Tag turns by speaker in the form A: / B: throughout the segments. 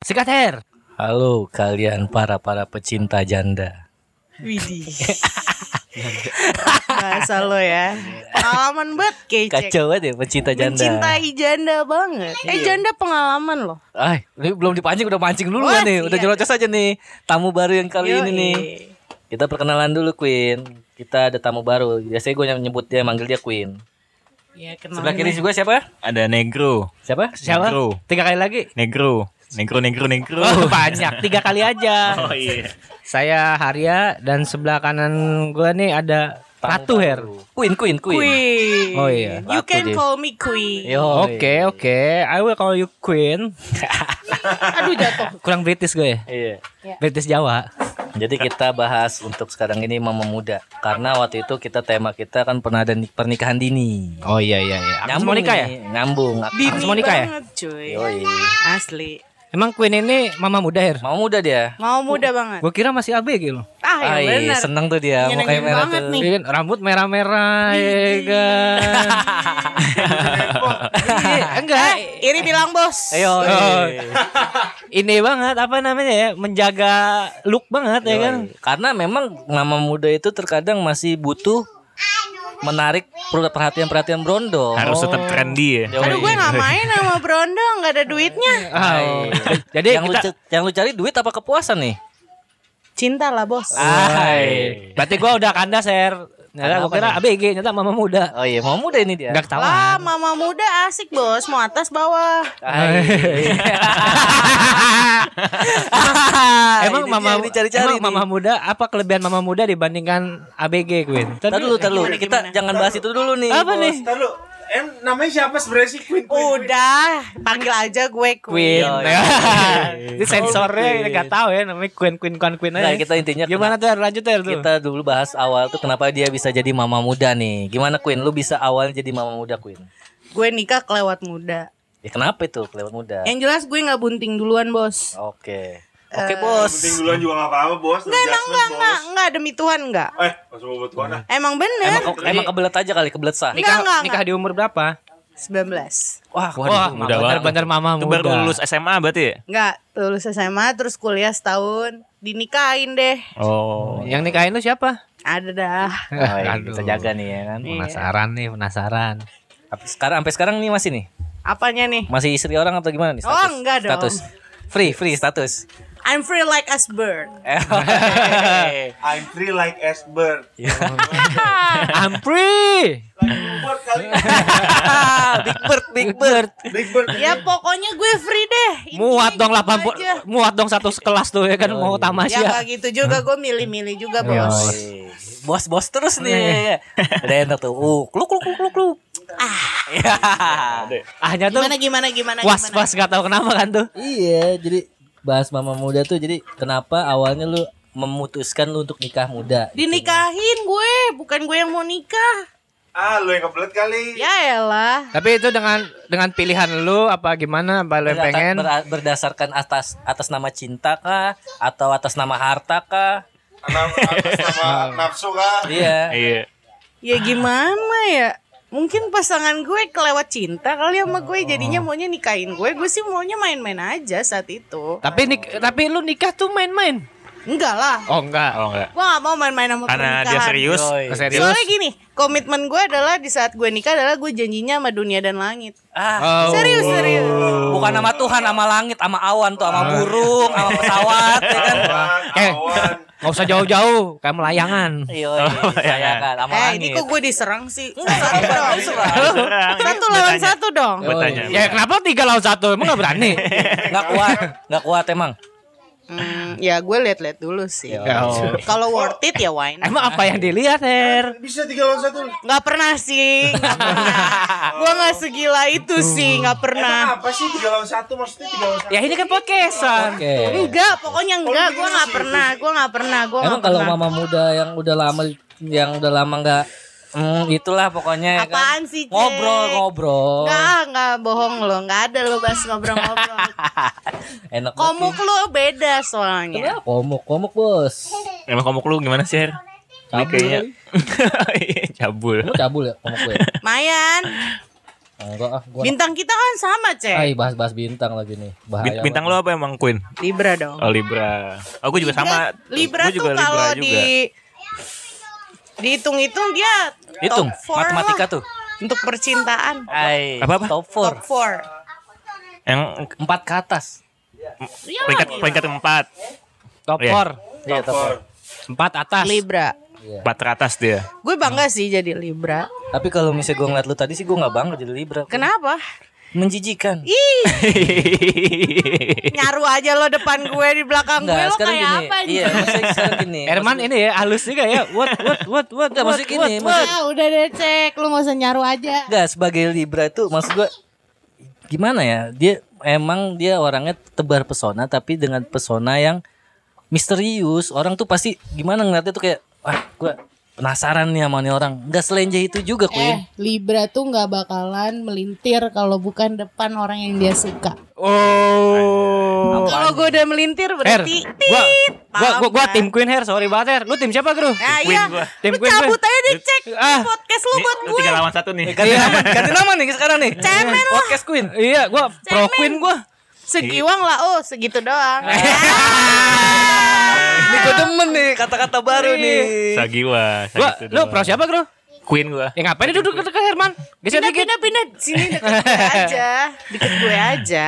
A: Sikat hair.
B: Halo kalian para-para pecinta janda.
C: Widih. Bahasa lo ya. Pengalaman banget kece.
B: Kacau banget ya pecinta janda.
C: Mencintai janda banget. Eh janda pengalaman loh.
B: Ay, ini belum dipancing udah mancing dulu kan
C: Wah,
B: nih. Udah
C: iya.
B: nyerocos aja nih tamu baru yang kali ini
C: Yoi.
B: nih. Kita perkenalan dulu Queen. Kita ada tamu baru. Biasanya gue nyebut dia manggil dia Queen.
C: Ya kenal.
B: Sebelah kiri juga siapa?
D: Ada negro,
B: Siapa?
A: Siapa?
D: Negro.
A: Tiga kali lagi.
D: negro, negro, negro, negro.
A: Oh, banyak. Tiga kali aja.
D: Oh iya.
A: Saya Haria dan sebelah kanan gua nih ada
B: Tamu
A: Ratu
B: baru.
A: Her.
B: Queen, Queen, Queen.
C: Queen.
A: Oh, iya.
C: You
B: Ratu
C: can
B: dia.
C: call me Queen.
B: Yo.
A: Oke, oke. I will call you Queen.
C: Aduh jatuh.
A: Kurang British gue ya.
B: Iya.
A: British Jawa.
B: Jadi kita bahas untuk sekarang ini mama muda karena waktu itu kita tema kita kan pernah ada ni- pernikahan dini.
A: Oh iya iya iya. Agnes
B: Nyambung
A: Monica ya?
B: nih, Nyambung.
C: Dini
A: mau nikah ya?
C: banget cuy.
B: Yoi.
C: Asli.
A: Emang Queen ini mama muda Her.
B: Mama muda dia.
C: Mau muda banget.
A: Gue kira masih ABG loh.
C: Ah ya
B: Ay,
C: benar.
B: seneng tuh dia
C: Nyenengin
B: mukanya merah
C: banget
B: tuh.
C: nih.
A: Iya kan, rambut merah-merah ya kan. Iya, enggak.
C: Ini Eh, bilang bos.
B: Ayo.
A: Oh. Ini banget apa namanya ya? Menjaga look banget ya kan.
B: Iya, Karena memang mama muda itu terkadang masih butuh menarik perhatian-perhatian brondong.
D: Harus tetap trendy ya.
C: Aduh gue nggak main sama Brondo nggak ada duitnya.
A: Oh. Jadi
B: yang lu
A: kita
B: ce- yang lu cari duit apa kepuasan nih?
C: Cinta lah bos.
A: Ah. Hai. Berarti gua udah kandas Her. Nyata
B: Karena
A: gua
B: apa
A: kira ABG, nyata mama muda.
B: Oh iya, mama muda ini dia.
A: Udah ketawa.
C: Lah mama muda asik bos. Mau atas bawah.
B: Hai. Iya.
A: emang
B: Ini
A: mama
B: dia yang dicari-cari
A: emang
B: nih.
A: mama muda apa kelebihan mama muda dibandingkan ABG Queen?
B: Tar dulu, tar dulu.
C: Gimana,
B: Kita
C: gimana?
B: jangan bahas itu dulu nih.
A: Apa nih?
E: Ntar lu, em namanya siapa sebenarnya sih Queen? Queen, Queen.
C: Udah panggil aja gue
A: Queen.
B: Iya,
C: Queen.
B: ya.
A: Ini sensornya nggak tahu ya namanya Queen Queen Queen Queen aja.
B: Nah, kita intinya
A: gimana tuh Her? lanjut Her tuh.
B: Kita dulu bahas awal tuh kenapa dia bisa jadi mama muda nih. Gimana Queen? Lu bisa awalnya jadi mama muda Queen?
C: Gue nikah kelewat muda.
B: Ya kenapa itu kelewat muda?
C: Yang jelas gue nggak bunting duluan bos.
B: Oke.
C: Eh,
B: Oke, Bos.
E: Penting duluan juga gak apa-apa
C: Enggak,
E: bos
C: enggak,
E: Adjustment,
C: enggak, enggak,
E: bos.
C: enggak, demi Tuhan enggak.
E: Eh, langsung bobot tuan ah.
C: Emang bener?
B: Emang, emang kebelet aja kali, kebelet sah.
A: nikah
C: enggak,
A: nikah di umur berapa?
C: 19.
B: Wah,
A: Wah,
B: waduh.
D: muda banget.
A: bener-bener mama
D: Itu
A: muda.
D: baru lulus SMA berarti ya?
C: Enggak, lulus SMA terus kuliah setahun, dinikahin deh.
D: Oh.
A: Yang nikahin lu siapa?
C: Ada dah.
B: Oh, iya, bisa jaga nih ya kan.
A: Iya. Penasaran nih, penasaran.
B: Tapi sekarang sampai sekarang nih masih nih.
C: Apanya nih?
B: Masih istri orang atau gimana nih
C: Oh,
B: status?
C: enggak dong.
B: Status. Free, free status.
C: I'm free like as bird.
B: Eh,
E: I'm free like as bird.
A: Ampri.
E: Like bird kali.
B: Big Bird, Big Bird.
E: Big bird.
C: ya pokoknya gue free deh. Intinya
A: Muat dong
C: gitu
A: 80
C: aja.
A: Ya. muat dong satu sekelas tuh ya kan mau
C: Ya
A: tamasya.
C: enggak gitu juga, gue milih-milih
A: Iya.
C: juga, Bos.
B: Bos, bos terus nih. Udah enak tuh. Uh, kluk, kluk, kluk, kluk, kluk. Iya.
A: Ahnya tuh
C: Gimana gimana gimana
A: was
C: gimana?
A: was gak tahu kenapa kan tuh.
B: Iya, jadi bahas mama muda tuh jadi kenapa awalnya lu memutuskan lu untuk nikah muda? Gitu.
C: Dinikahin gue, bukan gue yang mau nikah.
E: Ah, lu yang kebelet kali.
C: Ya elah.
A: Tapi itu dengan dengan pilihan lu apa gimana? Apa lu yang
B: Berata-
A: pengen?
B: ber- berdasarkan atas atas nama cinta kah atau atas nama harta kah?
E: Anak atas nama nafsu kah?
B: Iya.
D: Iya.
C: Ya gimana ya? Mungkin pasangan gue kelewat cinta kali sama gue jadinya maunya nikahin gue. Gue sih maunya main-main aja saat itu.
A: Tapi nik- tapi lu nikah tuh main-main.
C: Enggak lah.
A: Oh enggak.
D: Oh enggak.
C: Gue gak mau main-main sama
D: Karena dia
C: pernikahan.
D: serius.
B: Yoi.
A: Serius.
C: Soalnya gini, komitmen gue adalah di saat gue nikah adalah gue janjinya sama dunia dan langit.
B: Ah,
A: Oh.
C: Serius, serius.
B: bukan sama Tuhan, sama langit, sama awan tuh, sama burung, sama pesawat, ya kan?
E: Awan,
A: Eh.
E: awan.
A: Nggak usah jauh-jauh, kayak melayangan.
B: Iya, saya kan sama
C: Eh, ini
B: langit.
C: kok gue diserang sih? Satu dong.
D: Serang. Ini
C: Satu lawan
D: bertanya.
C: satu dong.
D: Buat tanya.
A: Ya kenapa tiga lawan satu? Emang gak berani?
B: Nggak kuat, nggak kuat emang.
C: Hmm, ya gue liat-liat dulu sih.
D: Ya.
A: Oh.
C: Kalau worth it ya wine.
A: Emang apa yang dilihat, Her?
E: Bisa tiga lawan satu.
C: Gak pernah sih. nggak pernah. Gue gak segila itu sih, gak pernah.
E: Emang apa sih tiga lawan satu? Maksudnya tiga lawan satu.
A: Ya ini kan podcastan.
C: Enggak, pokoknya enggak.
D: gitu
C: Gue gak pernah. Gue gak pernah. Gue
B: Emang
C: gak
B: kalau
C: pernah.
B: mama muda yang udah lama yang udah lama nggak hmm, itulah pokoknya ya kan?
C: Apaan sih, Jack?
B: ngobrol ngobrol
C: Enggak, enggak bohong lo. Enggak ada lo bahas ngobrol-ngobrol.
B: enak
C: Komuk lo beda soalnya.
B: banget. Iya, komuk komuk bos
D: Emang kamu lu gimana sih, Her? Ini
B: Cabul.
D: kayaknya. Iya, Cabul.
B: Lu cabul ya komuk gue
C: Mayan.
B: Enggak ah, gua.
C: Bintang kita kan sama, Cek.
B: Ay, bahas-bahas bintang lagi nih. Bahaya.
D: Bin- Bintang lo apa emang Queen?
C: Libra dong.
D: Oh Libra. Aku juga sama.
C: Libra
D: Gua juga
C: tuh kalau
D: Libra juga.
C: di dihitung-hitung dia top
B: Hitung
C: four
B: matematika
C: lah
B: tuh.
C: Untuk percintaan.
B: Ay,
D: Apa-apa?
B: top 4.
C: Top 4.
D: Yang
B: Empat ke atas.
D: peringkat peringkat keempat,
A: Top
D: Iya.
A: 4
B: Iya, top 4.
A: Empat atas.
C: Libra.
D: empat teratas dia.
C: Gue bangga sih jadi Libra.
B: Tapi kalau misalnya gue ngeliat lu tadi sih gue nggak bangga jadi Libra.
C: Kenapa?
B: Menjijikan.
C: Ih, nyaru aja lo depan gue di belakang gue lo kayak apa gitu? anjing?
B: Iya, maksudnya sekarang gini.
A: Herman
B: maksudnya-
A: ini ya halus juga ya. What what what what.
B: Nggak,
A: what,
B: maksudnya gini,
A: what, what.
B: maksudnya-
F: Ah, udah deh cek, lu gak usah nyaru aja.
B: Enggak, sebagai Libra itu maksud gue gimana ya? Dia emang dia orangnya tebar pesona tapi dengan pesona yang misterius. Orang tuh pasti gimana ngeliatnya tuh kayak ah gue penasaran nih sama nih orang. Enggak selenje itu juga,
F: Eh,
B: Queen.
F: Libra tuh nggak bakalan melintir kalau bukan depan orang yang dia suka.
A: Oh.
C: Kalau gue udah melintir
A: Her,
C: berarti
A: gua
C: tit,
A: gua
C: paham
A: gua, gua
C: kan?
A: tim Queen Her, sorry banget Her. Lu tim siapa, Gru?
C: Nah,
D: Queen
C: iya.
D: gua.
A: Tim
C: Lu
A: Queen gue.
C: cabut aja deh cek
A: Ah.
C: podcast lu
D: Ini
C: buat
D: lu
C: gue.
D: tiga lawan satu nih.
A: ya.
B: Ganti nama, ganti nama nih sekarang nih.
C: Cemen lo.
B: Podcast Queen.
A: Iya, gua pro
C: Cemen.
A: Queen gua. Eh.
C: Segiwang lah, oh segitu doang.
B: Ah.
A: Ah.
C: Iya.
B: Ini gue demen nih kata-kata baru nih.
D: Sagiwa.
A: Iya. Gua
D: Sagitu
A: lu
D: doang.
A: pro siapa, Gru?
D: Queen gua.
A: Ya ngapain duduk dekat Herman? Geser
C: Pindah,
A: dikit.
C: pindah, pindah. Sini deket gue aja. Deket gue aja.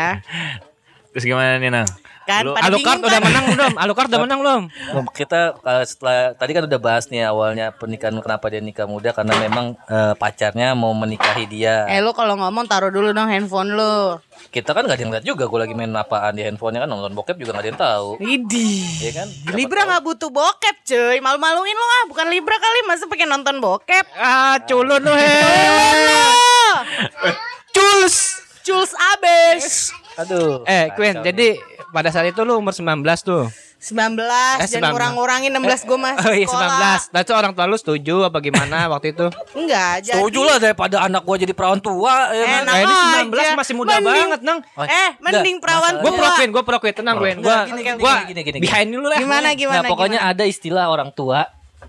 D: Terus gimana nih Nang?
C: Kan,
D: Lu-
C: pada
A: Alucard
C: bingung
A: ah, udah
C: kan?
A: menang belum? Alucard udah menang belum?
B: Nah, kita kalau setelah tadi kan udah bahas nih awalnya pernikahan kenapa dia nikah muda karena memang eh, pacarnya mau menikahi dia
C: Eh lu kalau ngomong taruh dulu dong handphone lu.
B: kita kan nggak ada yang lihat juga gue lagi main apaan di handphonenya kan nonton bokep juga nggak ada yang tahu
C: Idih.
B: ya kan
C: Libra nggak butuh bokep cuy Malu-maluin lo ah Bukan Libra kali Masa pengen nonton bokep
A: Ah, culun lu, Her.
C: Oh,
A: Culs.
C: Jules abis
B: aduh Nah.
A: Eh, Queen, jadi pada saat itu lu umur 19 tuh.
C: 19
A: Eh,
C: Jangan
A: 19.
C: kurang-kurangin 16 gue masih
A: Oh iya
C: sekolah
A: 19. Nah, itu orang tua lu setuju apa gimana waktu itu?
C: Enggak jadi
B: setuju lah daripada anak gue jadi perawan tua ya kan?
C: Enak
A: Nah, ini
C: aja.
A: 19 masih muda
C: Mending-
A: banget, Nang.
B: Oh,
C: Eh mending
B: enggak,
C: perawan
A: Gue
C: tua
A: pro Queen, gue pro Queen, tenang Queen. Gue
B: Gini, gini,
A: gua
B: gini, gini, gini.
A: behind dulu lah.
C: Gimana gitu? gimana
B: nah, pokoknya ada istilah orang tua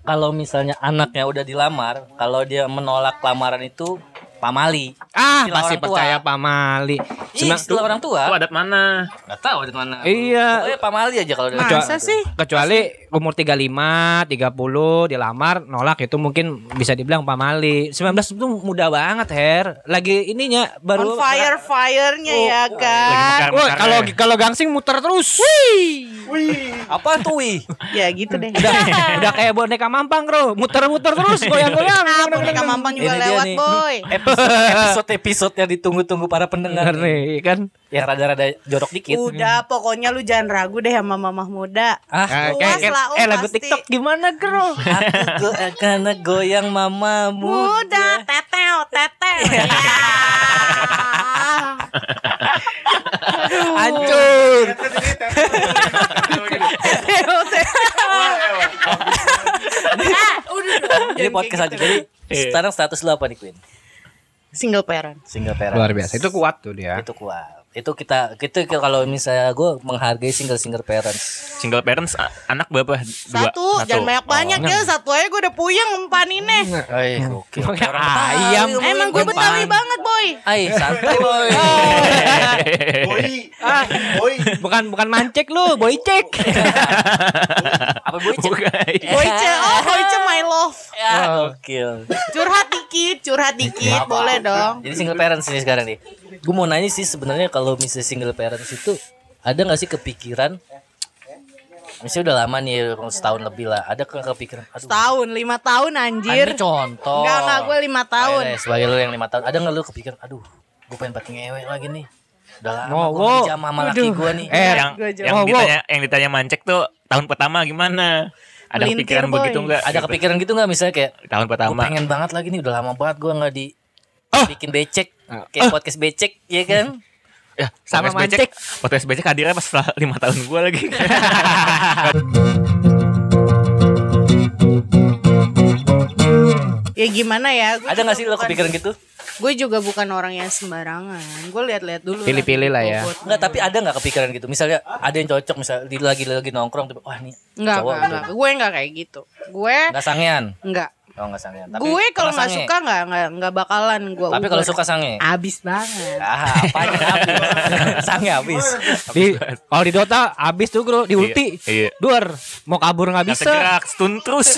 B: kalau misalnya anaknya udah dilamar kalau dia menolak lamaran itu pamali
A: Ah,
B: Istilah
A: pasti
B: orang tua.
A: percaya Pak Mali.
B: Ih, istilah orang tua
D: Lu adat mana?
B: Gak tahu dari mana.
A: Iya.
B: Pokoknya pamali aja kalau dari
C: gimana? Masa sih
A: Kecuali umur 35, 30 dilamar nolak itu mungkin bisa dibilang Pak Mali. 19 itu muda banget, Her. Lagi ininya
C: On
A: baru Nah. Oh,
C: fire firenya ya
D: Lagi
C: kan
A: Wah,
D: mekar-mekarnya.
A: Ah, kalau kalau gangsing muter terus.
B: Apa tuh, Wi?
C: Ya gitu deh
A: Udah, udah kayak boneka mampang, Bro. Muter-muter terus goyang-goyang.
C: Ah boneka mampang
B: Ini
C: juga
B: dia
C: lewat
B: nih.
C: boy
A: Nah,
B: Episode-episode yang ditunggu-tunggu para pendengar
A: Bener
B: nih.
A: nih, kan.
B: Yang rada-rada jorok
A: gitu
B: dikit.
C: Udah pokoknya lu jangan ragu deh sama mamah muda
B: Ah,
A: Ah,
C: Puas
A: kayak- kayak-
C: lah, oh,
A: eh lagu
C: pasti.
A: TikTok gimana, Bro?
B: aku go- akan goyang mamamu.
C: Muda teteo teteo Ya.
A: Hancur.
E: Lihat kan ini, taruh dulu.
C: Ah, udah dong.
B: Ini podcast aja. Jadi
A: Iya.
B: sekarang status lu apa nih, Queen?
C: Single parent.
B: Single parent.
A: Luar biasa. Itu kuat tuh dia.
B: Itu kuat. Itu kita itu kalau misalnya gue menghargai single single parents.
D: Single parents a- anak berapa? Dua. Oh,
C: Satu, jangan banyak banyak ya. Satu aja gue udah puyeng empan ini.
B: Eh, oke.
A: Ah, Ayam.
C: Emang gue betawi banget boy.
B: Ay, santai boy.
E: Boy, boy,
A: Bukan bukan mancek lu, boy cek.
B: Apa boy?
D: Bukan.
C: Boyce, oh boyce my love.
B: Ya, Oke.
C: Curhat dikit, curhat dikit, boleh dong.
B: Jadi single parents ini sekarang nih. Gue mau nanya sih sebenarnya kalau misalnya single parents itu ada nggak sih kepikiran? Misalnya udah lama nih setahun lebih lah. Ada ke kepikiran? Aduh,
C: Tahun, lima tahun
B: kan
C: anjir.
B: ini contoh.
C: Enggak, enggak, gue lima tahun.
B: Ayo deh, sebagai lu yang lima tahun, ada nggak lu kepikiran? Aduh, gue pengen buat ngewe lagi nih. Udah lama
A: Wow,
B: gue
A: wow.
B: dijamah sama laki gue nih.
A: Eh,
D: yang
C: Gua jawab.
D: yang
A: Wow, wow.
D: ditanya yang ditanya mancek tuh tahun pertama gimana? Ada
C: Melintir,
D: kepikiran
C: Boy.
D: begitu enggak?
B: Ada kepikiran gitu nggak misalnya kayak
D: tahun
B: gue
D: pertama.
B: pengen banget lagi nih udah lama banget gue nggak di
A: Oh.
D: Ah!
B: bikin becek kayak podcast becek ya kan
D: Ya,
A: Sama
D: podcast becek- Podcast becek hadirnya pas setelah lima tahun gue lagi.
C: Ya gimana ya?
B: ada nggak sih lo kepikiran gitu
C: Gue juga bukan orang yang sembarangan. Gue lihat-lihat dulu. lah.
A: Pilih-pilih lah ya.
B: Enggak, tapi ada nggak kepikiran gitu? Misalnya ada yang cocok, misalnya di- lagi lagi nongkrong, tiba, wah nih
C: Enggak,
B: cowok
C: enggak, enggak. Gue enggak kayak gitu. Gue
B: nggak sangean.
C: enggak.
B: Oh nggak sange. Tapi
C: Gue kalau nggak
B: sange.
C: suka Ah. nggak nggak nggak bakalan gue.
B: Tapi kalau suka sange.
C: abis banget.
B: Ah, apanya habis? sange habis.
A: Di, kalau di Dota abis tuh bro di ulti.
D: Iya, iya.
A: Duar, mau kabur nggak
D: Gak
A: bisa.
D: kegerak, stun terus.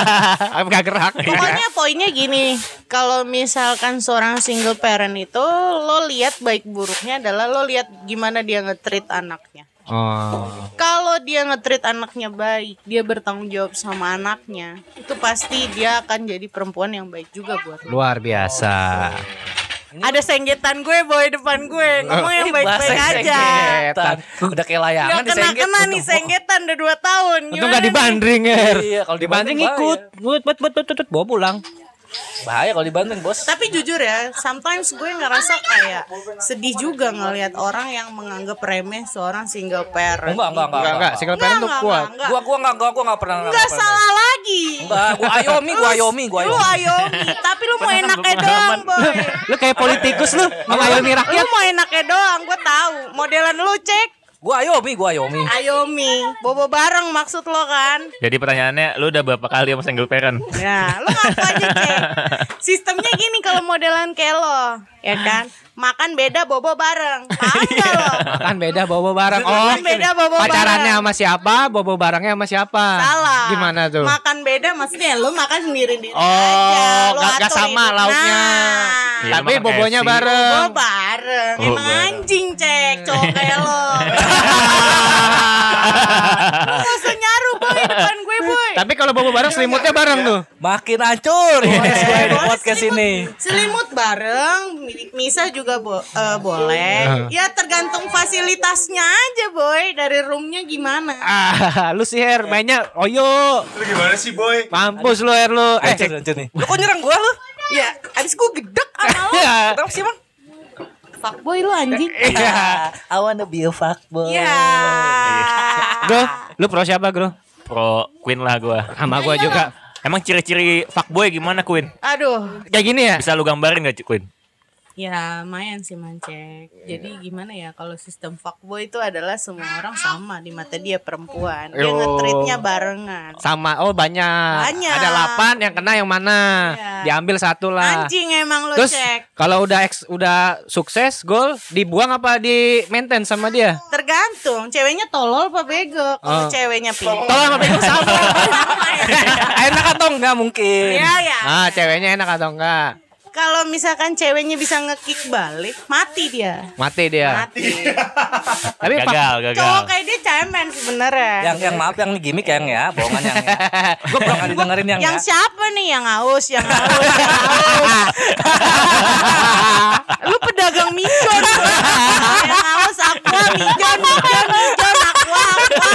A: Gak gerak.
C: Pokoknya poinnya gini, kalau misalkan seorang single parent itu lo lihat baik buruknya adalah lo lihat gimana dia nge-treat anaknya.
A: Oh.
C: Kalau dia nge-treat anaknya baik, dia bertanggung jawab sama anaknya, itu pasti dia akan jadi perempuan yang baik juga buat lo.
A: Luar biasa.
C: Ada senggetan gue boy depan gue, ngomong yang baik-baik
B: Bahasa
C: aja.
B: senggetan. Iya, Udah kayak
C: Udah
B: layangan disengget.
C: kena-kena nih senggetan udah 2 tahun.
A: Untung
C: Gimana
A: gak dibandring Her.
B: Iya, kalau
A: dibandring
B: dibanding
A: ikut. But, but, but, but, but, but, bawa pulang.
B: Bahaya kalau dibanding, Bos.
C: Tapi jujur ya, sometimes gue ngerasa kayak sedih juga ngelihat orang yang menganggap remeh seorang single parent.
B: Enggak, enggak, enggak.
A: Enggak, enggak. Single Oh, parent tuh kuat.
C: enggak.
B: Gua gua enggak, gua gua enggak pernah
C: Enggak
B: pernah.
C: salah lagi.
B: Enggak, gua ayomi, gua ayomi, gua
C: Lu
B: ayomi.
C: ayomi, tapi lu mau enaknya doang, boy.
A: Lu kayak politikus lu. Mengayomi
C: Lu
A: rakyat.
C: mau enaknya doang, gue tahu. Modelan lu cek
B: Gua ayomi, gua ayomi.
C: Ayomi, bobo bareng maksud lo kan?
D: Jadi pertanyaannya, lu udah berapa kali sama single parent?
C: Ya, lo ngaku aja cek. Sistemnya gini kalau modelan kayak lo, ya kan? Makan beda bobo bareng.
A: Iya.
C: Paham gak lo?
A: Makan Kan beda bawa barang. Oh.
C: Makan beda bobo
A: Pacarannya
C: bareng.
A: sama siapa? Bobo barangnya sama siapa?
C: Salah.
A: Ah, Gimana tuh?
C: Makan beda maksudnya lo makan sendiri-sendiri
A: Oh,
C: aja. Lo
A: nggak- nggak
C: atur
A: sama
C: hidup.
A: lauknya.
C: Nah,
D: Iya,
A: Tapi
D: makan
A: bobonya
D: KFC.
A: bareng.
C: bobo bareng.
A: Oh,
D: Bobo
C: Emang
D: bareng.
C: anjing cek, cowok kayak lo. Lo gak usah nyaru boy depan gue boy.
A: Tapi kalau bobo bareng selimutnya bareng tuh.
B: Makin hancur podcast gue di
C: Boleh
B: podcast
C: selimut-
B: ini.
C: Selimut bareng, mi- misa juga bo- eh, boleh.
A: Iya.
C: Ya tergantung fasilitasnya aja, boy. Dari roomnya gimana?
A: Ah, lu sih Her mainnya oyo.
E: Lu gimana sih boy?
A: Mampus lu Her lu. Eh,
B: Hancur, hancur nih. Lu kok nyerang gua lu? Ah,
C: Ya, abis gue gedek Iya. sama lo.
A: ya.
B: Kenapa sih, Bang?
C: Fuckboy lu anjing.
B: I wanna be a fuckboy.
C: Ya.
A: Bro, lu pro siapa, Bro?
D: Pro Queen lah gua.
A: Sama gua juga.
D: Emang ciri-ciri fuckboy gimana Queen?
C: Aduh.
A: Kayak gini ya?
D: Bisa lu gambarin gak Queen?
C: Ya, lumayan sih mancek.
B: Iya.
C: Jadi gimana ya kalau sistem fuckboy itu adalah semua orang sama di mata dia perempuan. Dia
A: Yo.
C: nge-treatnya barengan.
A: Sama oh banyak.
C: Banyak.
A: Ada 8 yang kena yang mana?
C: Iya.
A: Diambil satu lah.
C: Anjing emang lo
A: Terus
C: cek.
A: kalau udah ex, udah sukses gol dibuang apa di maintain sama dia?
C: Tergantung ceweknya tolol apa bego.
A: Oh.
C: Kalau ceweknya pintar.
A: Tolong sama Bego sama.
B: Enak atau enggak mungkin?
C: Ya ya.
A: Ah, ceweknya enak atau enggak?
C: Kalau misalkan ceweknya bisa ngekick balik, mati dia.
A: Mati dia.
C: Mati.
A: Tapi kan. pak,
D: gagal,
C: Cowok
D: gagal.
C: kayak dia cemen sebenarnya.
B: Yang yang maaf yang gimmick yang ya, bohongan yang. Ya. Gua bohongan dengerin yang.
C: Yang
B: ya.
C: siapa nih yang haus, yang haus, yang haus. Lu pedagang mijon. yang haus aqua, mijon, mijon, mijon, aqua, aqua.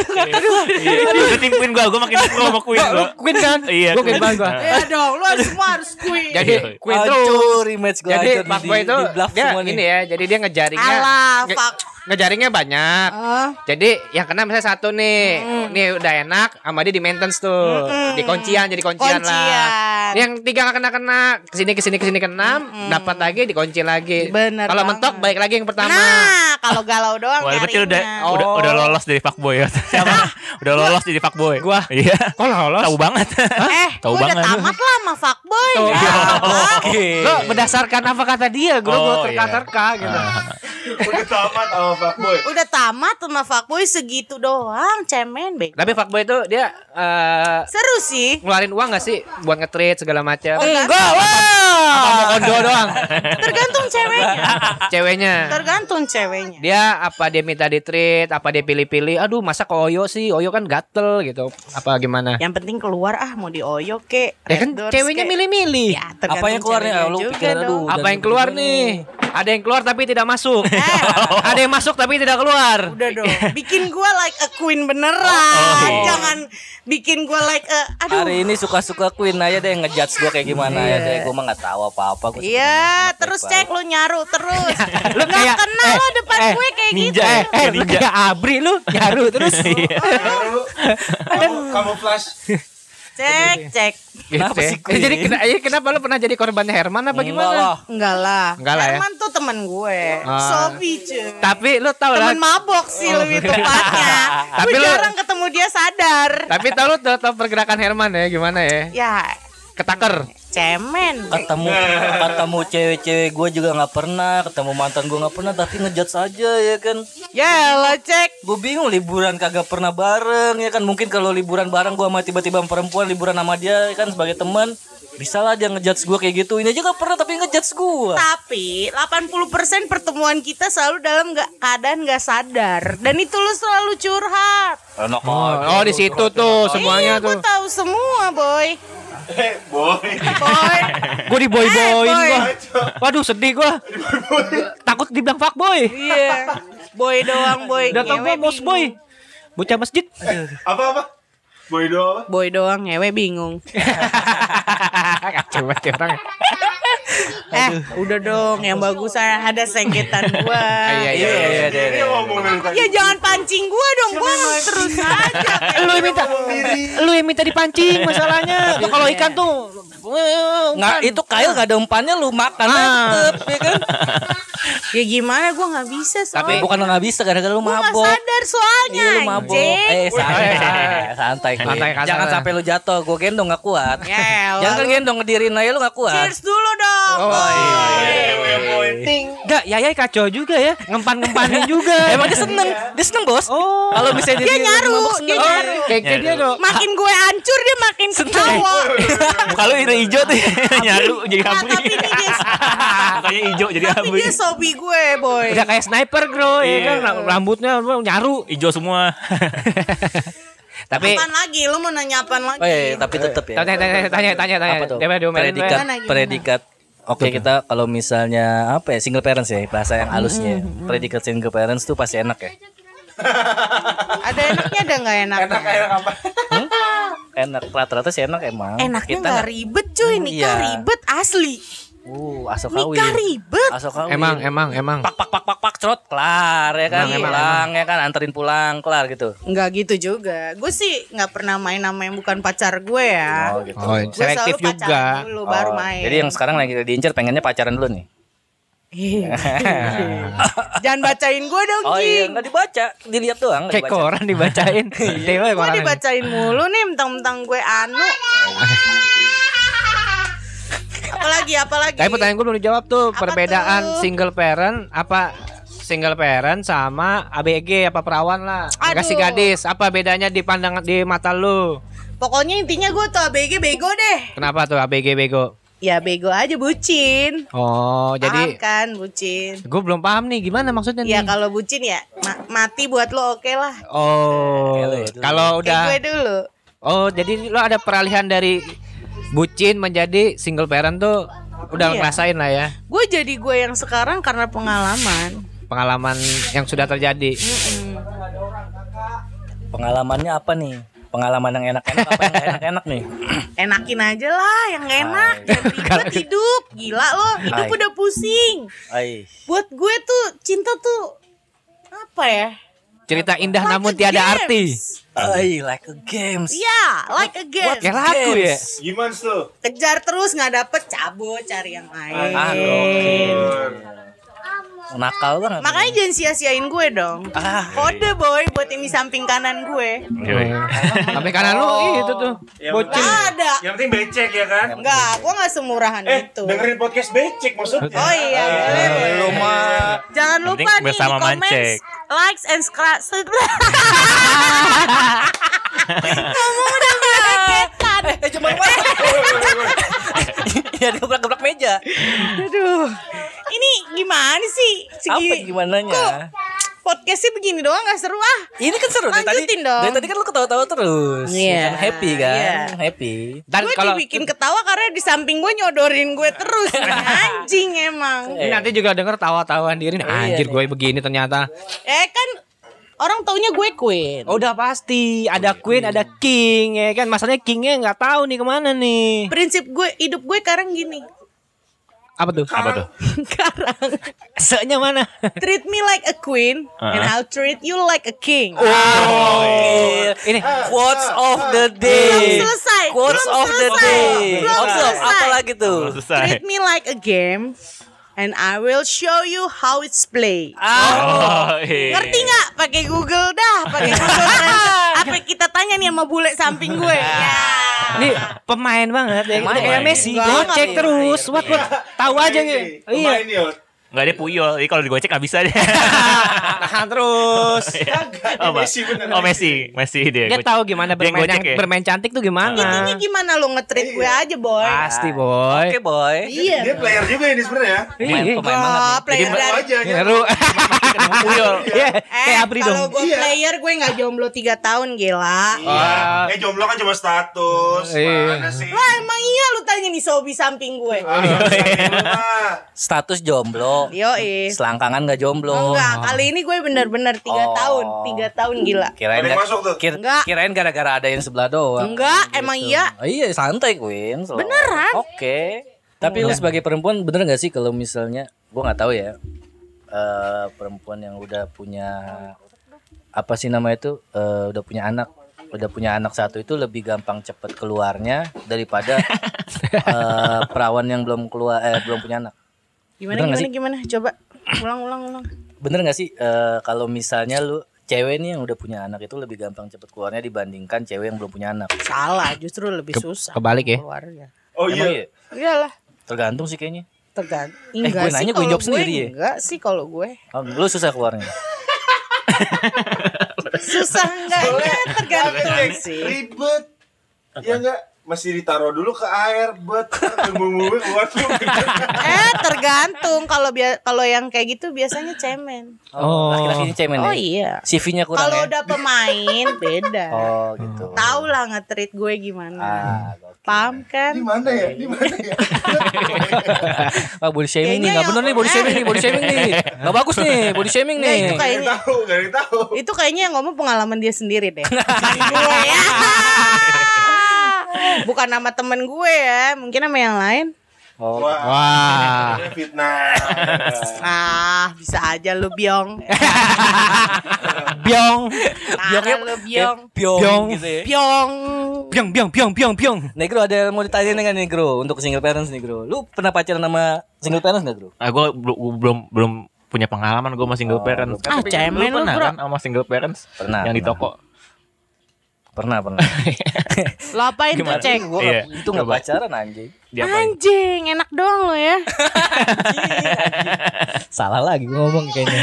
D: Iya, tim Queen gua, gua makin pro sama Queen
A: Lu
D: gua.
A: Queen kan?
D: Iya,
A: Gua Queen
D: Queen.
A: banget gua.
C: Ya dong, lu harus semua harus kuy.
A: Jadi
D: Iya.
A: Queen tuh
B: Hancur image gue
A: jadi
B: hancur
A: Pak Boy itu dia ini ya, jadi dia ngejaringnya
C: Alah,
A: nge-
C: fuck.
A: ngejaringnya banyak.
C: Ah.
A: Jadi yang kena misalnya satu nih,
C: Hmm.
A: nih udah enak, sama dia di maintenance tuh, di kuncian jadi kuncian,
C: Kuncian.
A: lah. Nih Yang tiga nggak kena kena, kesini kesini kesini kena, dapat lagi dikunci lagi.
C: Hmm. Bener
A: Kalau
C: banget.
A: mentok balik lagi yang pertama.
C: Nah, kalau galau doang
D: Wah, berarti udah,
A: Oh.
C: nyarinya.
D: Oh. udah udah lolos dari fuckboy ya. Siapa? udah lolos jadi fuckboy. Gua. Iya.
A: Kok lolos?
D: Tahu banget.
C: Eh,
D: Tahu
C: gua udah
D: banget.
C: tamat
D: Oh, iya.
C: lah sama fuckboy.
A: Tuh.
C: Ya, Allah.
A: Lo berdasarkan apa kata dia, gue
D: Oh,
A: gue
D: Ah.
A: terka-terka gitu.
E: Udah tamat sama fuckboy.
C: Udah tamat sama fuckboy segitu doang, cemen be.
A: Tapi fuckboy itu dia eh,
C: Seru sih.
A: ngeluarin uang gak sih buat nge-treat segala macam?
C: Tergantung,
A: Apa mau kondo doang?
C: tergantung ceweknya.
A: Ceweknya.
C: Tergantung ceweknya.
A: dia apa dia minta di treat apa dia pilih-pilih aduh masa ke Oyo sih Oyo kan gatel gitu apa
B: Ya,
A: gimana
C: Yang penting keluar ah mau dioyok kek.
A: ya kan
C: red doors
A: ceweknya
C: kek.
A: milih-milih
C: Ya, tergantung
B: Apa yang keluarnya?
A: Ah,
C: ceweknya
B: Lu
C: juga
B: pikir
C: dong.
B: aduh.
A: apa yang keluar nih ada yang keluar tapi tidak masuk
C: Eh.
A: ada yang masuk tapi tidak keluar
C: Udah dong, bikin gua like a queen beneran.
A: Oh, iya.
C: Jangan bikin gua like a aduh.
B: Hari ini suka-suka Queen aja deh ngejudge gue kayak gimana ya deh. Gue mah nggak tahu apa-apa. Gua
C: Iya, terus cek lu nyaru terus. lu gak
A: kayak-
C: kenal
A: eh,
C: lo depan
A: eh,
C: gue kayak gitu.
A: eh, eh lu kayak abri lu nyaru terus
E: Baru kamu flash.
C: Cek, cek.
B: Kenapa
A: Gitu.
B: sih gue?
A: Jadi kena- eh, kenapa lo pernah jadi korbannya Herman apa gimana?
B: Enggak lah.
C: Enggak lah.
A: Enggak lah ya.
C: Herman tuh temen gue.
A: Ah.
C: Sofi cuy.
A: Tapi lo tau lah. Oh.
C: Temen mabok sih lebih tepatnya.
A: Tapi
C: Tapi
A: lu-
C: jarang ketemu dia sadar.
A: Tapi tau lo tau, tau pergerakan Herman ya gimana ya?
C: Ya,
A: Ketaker.
C: cemen.
B: ketemu ketemu cewek-cewek gue juga nggak pernah ketemu mantan gue nggak pernah tapi ngejudge aja ya kan
C: Ya lo cek.
B: gue bingung liburan kagak pernah bareng ya kan mungkin kalau liburan bareng gue sama tiba-tiba sama perempuan liburan sama dia ya kan sebagai teman bisa lah dia ngejudge gue kayak gitu ini aja nggak pernah tapi ngejudge gue
C: Tapi 80% pertemuan kita selalu dalam nggak keadaan nggak sadar dan itu lu selalu curhat.
B: enak
A: Oh, di situ tuh semuanya
C: Iya, gua
A: tuh.
C: tahu semua, boy.
E: Eh, boy.
C: Boy. Eh,
A: Gue diboy boyin
C: boy.
A: gue. Waduh sedih gue. Takut dibilang fuck boy.
C: Iya. Boy doang, boy.
A: Udah tau
C: Ngewe
A: gue bos
C: bingung.
A: boy. Bocah masjid.
E: Apa apa? Boy doang apa?
C: Boy doang ngewe bingung.
A: Kacau banget ya orang.
C: Eh, udah dong yang bagus ada sengketan gua.
A: Iya iya iya. iya.
E: Ini ngomongin tadi.
C: Ya jangan pancing gua dong, gua terus aja.
A: Lu yang minta, lu yang minta dipancing masalahnya. Kalau ikan tuh, eh,
B: nggak
C: kan?
B: itu kail nggak ada umpannya lu makan
C: Ah.
B: aja tetep ya kan
C: Ya gimana gua nggak bisa
B: tapi
C: soalnya.
B: bukan lu nggak bisa gara-gara lu
C: gua nggak
B: mabok
C: sadar soalnya.
B: Iya, lu mabok.
C: anjing.
B: Eh, santai, santai, santai. Kuy.
A: Santai, kasar.
B: Jangan sampai lu jatuh, gua gendong gak kuat.
A: Eh,
C: Ya, elah,
B: Jangan kan
C: lu.
B: gendong ngedirin aja lu gak kuat.
C: Cheers dulu dong.
B: Oh, iya,
C: boy.
A: Enggak, Yayai kacau juga ya. Ngempan-ngempanin juga.
B: Emang dia seneng, dia seneng bos.
A: Oh.
B: Kalau misalnya
C: Iya. Dia
B: diri lu
C: nyaru,
B: mabok,
C: dia
B: seneng.
C: nyaru.
A: kayak kayak
B: iya.
A: dia dong.
C: Makin gue hancur dia makin ketawa.
D: Muka lu ini hijau tuh nyaru jadi
C: Nah,
D: abri.
C: tapi ini dia
D: Mukanya hijau jadi
C: tapi
D: abri.
C: dia sobi gue, boy.
A: Udah kayak sniper, Bro. Ya
D: Iya.
A: kan rambutnya nyaru.
D: Hijau semua.
A: Tapi
C: Apaan lagi? Lu mau nanya apaan lagi?
B: Oh iya, iya, tapi tetep ya.
A: tanya tanya tanya tanya tanya.
B: Apa tuh?
A: Dia dia omelin, Bro.
B: Predikat,
F: Gimana, gimana?
B: predikat. Oke kita kalau misalnya apa ya single parents ya bahasa yang
C: Hmm,
B: halusnya predikat single parents tuh pasti enak ya
C: Ada enaknya ada nggak enak?
E: Enak enak apa?
B: enak rata-rata sih enak emang
C: Enaknya
B: kita
C: nggak ribet cuy, nikah
B: Iya.
C: ribet asli.
B: uh asal kawin
C: Nikah ribet.
B: asal kawin
A: Emang emang emang.
B: pak pak pak pak pak cerot kelar ya kan
A: Emang, emang,
B: pulang ya kan anterin pulang kelar gitu
C: Nggak gitu juga. Gue sih nggak pernah main sama yang bukan pacar gue ya.
B: gitu
A: Oh,
C: Gue
A: selektif
C: selalu pacaran
A: juga.
C: Dulu baru
B: Oh,
C: main.
B: jadi yang sekarang lagi diincer pengennya pacaran dulu nih
C: Iya. Jangan bacain gue dong,
B: oh iya
C: King.
B: nggak dibaca dilihat doang nggak
A: Kayak
B: dibaca. Iya.
A: koran dibacain. Dewa
C: Gue
A: koran.
C: dibacain mulu nih mentang-mentang gue anu. apalagi apalagi.
A: Tapi pertanyaan gue belum dijawab tuh.
C: Apa
A: Perbedaan
C: tuh?
A: single parent apa single parent sama ABG apa perawan lah.
C: Aduh.
A: Kasih gadis. Apa bedanya di pandangan di mata lu?
C: Pokoknya intinya gue tuh ABG bego deh.
A: Kenapa tuh ABG bego?
C: Ya bego aja bucin.
A: Oh,
C: Paham
A: jadi
C: kan bucin.
A: gue belum paham nih gimana maksudnya
C: Ya
A: nih.
C: kalau bucin ya ma- mati buat lo oke lah.
A: Oh,
B: Kayak lo ya dulu.
A: kalau udah
C: Kayak gue dulu.
A: Oh, jadi lo ada peralihan dari bucin menjadi single parent tuh udah
C: Iya.
A: ngerasain lah ya
C: Gue jadi gue yang sekarang karena pengalaman.
A: pengalaman yang sudah terjadi.
B: pengalamannya apa nih pengalaman yang enak-enak apa yang nggak enak-enak nih
C: Enakin aja lah yang enak. Jangan ribet hidup. Gila lo, hidup
B: Hai.
C: udah pusing.
B: Ay.
C: Buat gue tuh cinta tuh apa ya?
A: Cerita indah
C: Like
A: namun
C: a
A: tiada
C: games.
A: arti.
B: Ay, like a games
C: Iya, like a game.
A: Kayak lagu ya.
E: Gimana tuh?
C: Kejar terus nggak dapet cabut cari yang lain.
B: Ah, gokil. nakal banget
C: Makanya gitu. jangan sia-siain gue dong.
B: Ah.
C: Kode boy buat ini samping kanan gue.
D: Oh.
A: Tapi karena lu itu tuh
E: Ya,
A: bocil.
C: Gak ada.
E: Yang penting becek ya kan?
C: Enggak, gue gak semurahan
E: Eh,
C: itu.
E: dengerin podcast becek maksudnya. Eh,
C: Oh iya, boleh, boleh.
B: lu mah
C: Jangan
D: Yang
C: lupa
D: penting
C: nih
D: bersama
C: di comments,
D: mancek.
C: likes and subscribe. Ngomong udah belepetan.
B: eh cuma gua ya gebrak-gebrak meja
C: Aduh. Ini gimana sih?
B: apa
C: Segi
B: gimana nya
C: podcastnya begini doang gak seru ah.
B: ini kan seru dari tadi
C: Lanjutin dong.
B: dari tadi kan lu ketawa-tawa terus
C: Iya.
B: kan happy kan
C: Iya.
B: happy
A: Dan
C: gue
A: kalau
C: dibikin ketawa karena di samping gue nyodorin gue terus. Anjing emang.
A: ini nanti juga denger tawa-tawaan diri nih, anjir gue begini ternyata.
C: Eh kan orang taunya gue queen.
A: Oh, udah pasti ada queen, ada king ya kan. Masalahnya kingnya nggak tahu nih kemana nih.
C: Prinsip gue hidup gue sekarang gini.
A: Apa tuh?
D: Apa tuh?
C: Karang.
A: Seknya mana?
C: Treat me like a queen and
B: Uh-huh.
C: I'll treat you like a king.
D: Oh.
A: Ini
B: Eh,
C: Eh.
B: Quotes of the
C: Belum
B: day.
C: selesai.
B: Quotes
C: Eh, Belum
B: of the
C: selesai.
B: day.
C: Belum
B: Oke,
C: selesai.
B: apa lagi tuh?
D: Belum
C: Treat
D: selesai.
C: me like a game and I will show you how it's played.
B: Ah.
D: Oh, iya.
C: Ngerti nggak? Pakai Google dah, pakai Google. Translate. Apa kita tanya nih sama bule samping gue?
B: Ah.
C: Ya.
A: ini pemain banget ya.
B: Pemain.
A: Kayak Messi,
C: Banget.
A: gocek terus. What what? Tahu aja gitu. Iya.
E: eh. Pemain yuk.
D: Enggak dia puyol. Jadi kalau digocek nggak bisa deh.
A: Iya, Tahan terus.
D: Oh,
E: Messi bener.
D: Oh, Messi. Messi dia.
A: Dia
D: Gocek.
A: tahu gimana
D: Dia
A: bermain
D: gocek
A: yang-
D: ya?
A: bermain cantik tuh
C: Intinya
A: gimana.
C: gimana lo ngetreat gue aja, boy?
A: Pasti boy.
B: Oke, boy.
E: Dia player juga ini sebenarnya.
B: Pemain,
A: Iya.
B: pemain banget
C: Wah,
B: nih.
E: Jadi
C: player
E: baru
C: dari
E: aja. ya.
A: Seru.
D: Puyol.
A: Iya,
C: Eh,
A: Kayak Abri
C: kalau
A: dong.
C: gue
E: Iya.
C: player gue nggak jomblo 3 tahun gila.
E: Iya. Eh jomblo kan cuma status.
A: Ah. Iya.
E: Mana sih?
C: Lah emang iya lu tanya nih Sobi samping gue.
E: Ah, Pak.
C: gitu.
B: Status jomblo.
C: Yoi.
B: Selangkangan gak jomblo.
C: Enggak, kali ini gue bener-bener 3
B: Oh.
C: tahun, 3 tahun gila.
B: Kirain
E: Ada yang
B: gak-
E: masuk tuh?
B: kir-
C: Enggak.
B: Kirain gara-gara ada yang sebelah doang.
C: Enggak, emang iya.
B: Oh, iya santai Queen. selalu.
C: Beneran?
B: Oke. Nah. Tapi lu sebagai perempuan bener gak sih kalau misalnya gua nggak tahu ya. eh perempuan yang udah punya apa sih nama itu? eh, udah punya anak udah punya anak satu itu lebih gampang cepet keluarnya daripada eh, perawan yang belum keluar eh belum punya anak.
C: Gimana
B: Bener
C: gimana
B: nggak
C: gimana? Coba ulang ulang ulang.
B: Bener gak sih eh, kalau misalnya lu cewek nih yang udah punya anak itu lebih gampang cepet keluarnya dibandingkan cewek yang belum punya anak?
C: Salah, justru lebih susah.
A: Kebalik ya.
C: Keluarnya.
E: Oh
B: Emang
E: iya.
B: iya?
C: Iyalah,
B: Tergantung sih kayaknya.
C: tergantung. Enggak
B: gue
C: sih
B: nanya, gue
C: kalau
B: jawab sendiri ya?
C: Enggak sih kalau gue.
B: Oh, lu susah keluarnya.
C: Susah enggaknya tergantung Kan sih.
E: Ribet. Ya enggak masih ditaruh dulu ke air, bet. Bumbu-bumbu keluar tuh.
C: Eh, tergantung kalau bia- kalau yang kayak gitu biasanya cemen.
A: Oh.
B: laki-laki ini cemen
C: Oh
B: ya.
C: iya.
B: CV-nya kurang
C: Kalau
B: ya.
C: udah pemain beda.
B: Oh, gitu.
C: Tahu lah ngetreat gue gimana.
B: Ah, gokil.
C: Paham kan?
E: Di mana ya? Di mana ya?
B: Ah, body shaming nih.
C: Kayaknya
B: Enggak
C: yang-
B: bener nih body
C: eh.
B: shaming nih, body shaming nih. Enggak bagus nih
A: Eh,
B: body shaming
C: Nah,
B: nih.
C: itu
E: Gak ada yang
C: kayaknya
E: tahu, gak ada yang tahu.
C: itu kayaknya yang ngomong pengalaman dia sendiri deh. Bukan gue ya. Bukan nama temen gue ya, mungkin nama yang lain.
B: Oh,
E: Wah,
A: Wah.
E: fitnah.
C: Ah, bisa aja lu biong.
A: Biong.
B: ya?
C: Parah lu biong.
B: Biong,
A: Biong.
B: gitu ya.
C: Biong.
A: Biong biong biong biong biong.
B: Negro ada yang mau ditanya dengan Negro untuk single parents Negro. Lu pernah pacaran sama single parents enggak, Bro?
D: Ah, gue belum belum punya pengalaman gue sama single parents.
B: belum.
D: Kan,
C: Ah,
D: tapi
C: cemen
D: lu
C: lu,
D: pernah
C: bro.
D: kan sama single parents?
B: Pernah,
D: Yang di
B: pernah.
D: toko.
B: Pernah, pernah.
C: Lo apain tuh, Ceng?
B: Gua
D: Iya.
B: itu enggak
D: Coba.
B: pacaran anjing.
D: Dia apa?
C: Anjing, enak doang lo ya.
B: Salah lagi gua ngomong kayaknya.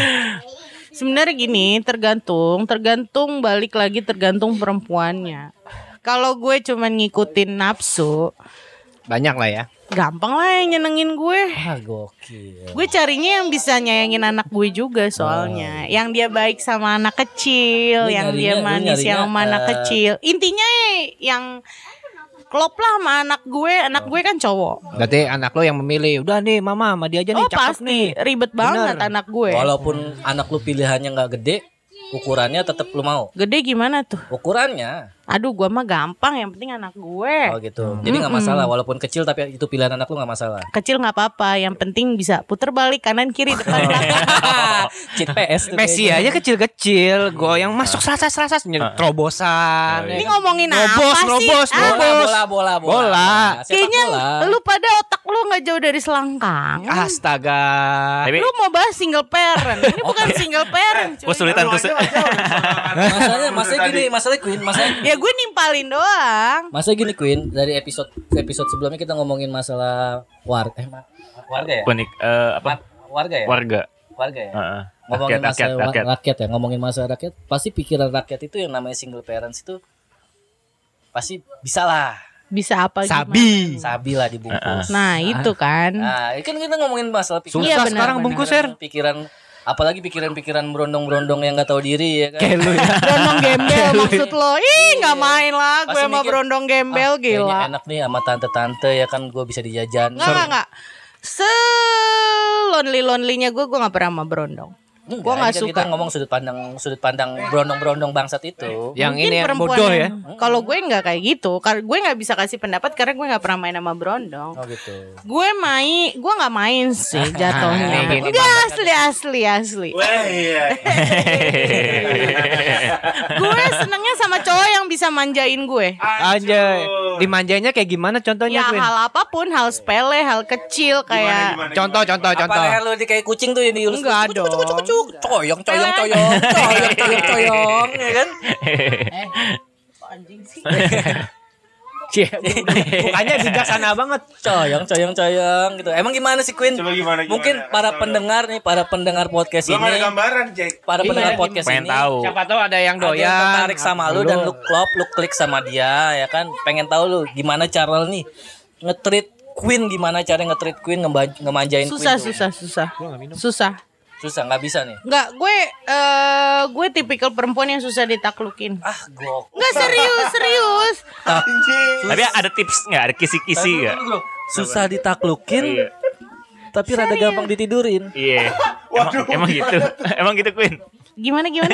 C: Sebenarnya gini, tergantung, tergantung balik lagi tergantung perempuannya. Kalau gue cuman ngikutin nafsu,
A: Banyak lah ya.
C: gampang lah yang nyenengin gue.
B: Ah, gokil.
C: Gue carinya yang bisa nyayangin anak gue juga soalnya. Yang dia baik sama anak kecil,
B: Oh. Lu
C: yang
B: nyarinya-
C: dia
B: lu
C: manis
B: nyarinya,
C: sama anak
B: eh,
C: kecil. Intinya yang klop lah sama anak gue, anak gue kan cowok.
A: Berarti anak lo yang memilih. Udah nih mama sama dia aja nih
C: Oh
A: cakep nih.
C: pasti, ribet banget anak gue.
B: Walaupun anak lu pilihannya enggak gede, ukurannya tetap lu mau.
C: Gede gimana tuh?
B: Ukurannya
C: Aduh, gue mah gampang, yang penting anak
B: Oh
C: gue.
B: gitu. Jadi nggak masalah
C: Hmm.
B: walaupun kecil tapi itu pilihan anak lu nggak masalah.
C: Kecil nggak apa-apa, yang penting bisa puter balik kanan kiri depan belakang.
B: Cheat PS tuh
A: Messi aja
B: kayaknya.
A: kecil-kecil, goyang masuk serasa-serasa terobosan. ya
C: Ini
A: kan?
C: ngomongin
A: Nobos,
C: apa sih?
A: nobos,
C: Ah,
B: Bola,
A: nobos.
B: bola, bola, bola.
A: Bola.
B: Sepak
C: Kayaknya
B: bola. Ya,
C: lu pada otak lu nggak jauh dari selangkang.
A: Astaga.
D: Tapi
C: Lu mau bahas single parent. Ini bukan single parent. cuy.
D: gue sulitan
E: Lu
D: gue
E: aja, aja.
B: Masalahnya, masalahnya gini, masalahnya Queen, masalahnya
C: Ya gue nimpalin doang.
B: Masalahnya gini Queen, dari episode episode sebelumnya kita ngomongin masalah warga eh, ma- warga ya?
D: Konik eh, apa?
B: Wa- Warga ya?
D: Warga.
B: Warga ya?
D: Heeh.
B: Ngomongin
D: Rakyat, rakyat,
B: masalah wa-
D: rakyat.
B: rakyat, ya, ngomongin masalah rakyat, pasti pikiran rakyat itu yang namanya single parents itu pasti bisa lah,
C: Bisa apa gimana?
A: Sabi.
B: sabi Ah. lah dibungkus.
C: Nah, itu kan.
B: Nah, ini kan kita ngomongin masalah pikiran.
A: Susah
C: Iya, benar,
A: sekarang
C: benar.
A: bungkus, Her.
B: pikiran apalagi pikiran-pikiran berondong-berondong yang nggak tahu diri ya kan.
A: Kayak lu ya.
C: Berondong gembel maksud lo. Ih, nggak main lah gue
B: Pasti
C: sama
B: Iya. mikir,
C: berondong
B: Ah,
C: gembel
B: kayaknya
C: gila.
B: enak nih sama tante-tante ya kan gue bisa dijajan.
C: Enggak, enggak, enggak. Se lonely lonelynya gue gue nggak pernah sama berondong.
B: Enggak,
C: Gua nggak
B: ini kan
C: suka.
B: Kita ngomong sudut pandang sudut pandang brondong-brondong bangsat itu.
A: Yang
C: Mungkin
A: ini yang
C: perempuan
A: bodoh ya.
C: yang- Kalau gue nggak kayak gitu, karena gue nggak bisa kasih pendapat karena gue nggak pernah main sama brondong.
B: Oh gitu.
C: Gue main, gue nggak main sih
A: Ah,
C: jatuhnya.
A: ini- ini
C: Enggak asli asli asli.
E: Wah iya.
C: gue senengnya sama cowok yang bisa manjain gue.
A: Anjay. Dimanjainya kayak gimana contohnya,
C: Ya
A: Queen?
C: hal apapun, hal sepele, hal kecil kayak
A: Contoh, contoh,
B: Apa
A: contoh.
B: leher lu di kayak kucing tuh yang diurus?
C: Enggak
B: Kucuk, kucuk,
C: dong.
B: kucuk, kucuk. Coyong, coyong, coyong, coyong, coyong, coyong, ya kan?
A: Cie, Mukanya bijaksana banget.
B: Coyong, coyong, coyong gitu. Emang gimana sih Queen?
E: Coba gimana, gimana?
B: Mungkin para
E: Coba.
B: pendengar nih, para pendengar podcast
E: Belum ada
B: ini,
E: gambaran, Cek.
B: para
A: Iya,
B: pendengar
A: gimana?
B: podcast
D: Pengen
B: ini,
D: tahu.
A: Siapa tahu ada yang
B: ada yang
A: doyan.
B: tertarik sama lu dan lu klop, lu klik sama dia ya kan. Pengen tahu lu gimana cara lu nih ngetrit Queen gimana cara ngetrit Queen ngeba- ngemanjain
C: susah
B: Queen. tuh.
C: susah susah. Susah.
B: Susah nggak bisa nih.
C: Enggak, gue eh gue tipikal perempuan yang susah ditaklukin.
B: Ah, gok.
C: Enggak serius, serius.
A: Ah.
E: Anjing.
D: Tapi ada tips nggak? Ada kisi-kisi nggak?
B: Susah ditaklukin. Tapi rada gampang ditidurin.
D: Iya. Emang, emang gitu. emang gitu Queen.
C: Gimana gimana?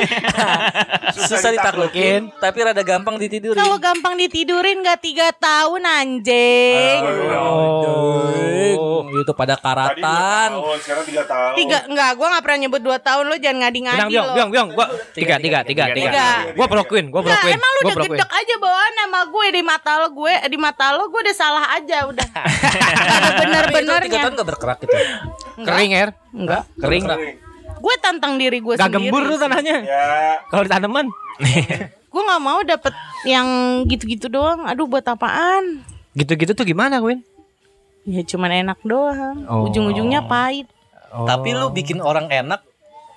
B: Susah ditaklukin, tapi rada gampang ditidurin.
C: Kalau gampang ditidurin nggak tiga tahun anjing.
B: Oh, itu pada
E: Tadi dua
B: karatan.
E: tahun, sekarang tiga tahun.
C: Tiga enggak, gue nggak pernah nyebut dua tahun lo jangan
A: Bilang,
C: ngadi-ngadi
A: biang,
C: lo.
A: biang, biang. Gua tiga, tiga, tiga, tiga.
D: Tiga.
A: Gua pro Queen, gua pro
C: Enggak,
A: Queen.
C: emang lu
A: Gua
C: udah
A: pro Queen.
C: gedek aja bawaan sama gue di mata lo gue di mata lo gue udah salah aja udah.
B: Tapi itu tiga
C: Bener-benernya.
B: tahun gak berkerak gitu.
A: Kering, Her.
C: Enggak.
A: Kering.
C: Gue tantang diri gue
A: Gak
C: sendiri.
A: gembur tuh tanahnya.
E: Ya,
A: Kalau di tanaman.
C: Gue nggak mau dapet yang gitu-gitu doang. Aduh buat apaan?
A: Gitu-gitu tuh gimana, Queen?
C: Ya cuman enak doang.
A: Oh.
C: Ujung-ujungnya pahit.
B: Tapi lu bikin orang enak,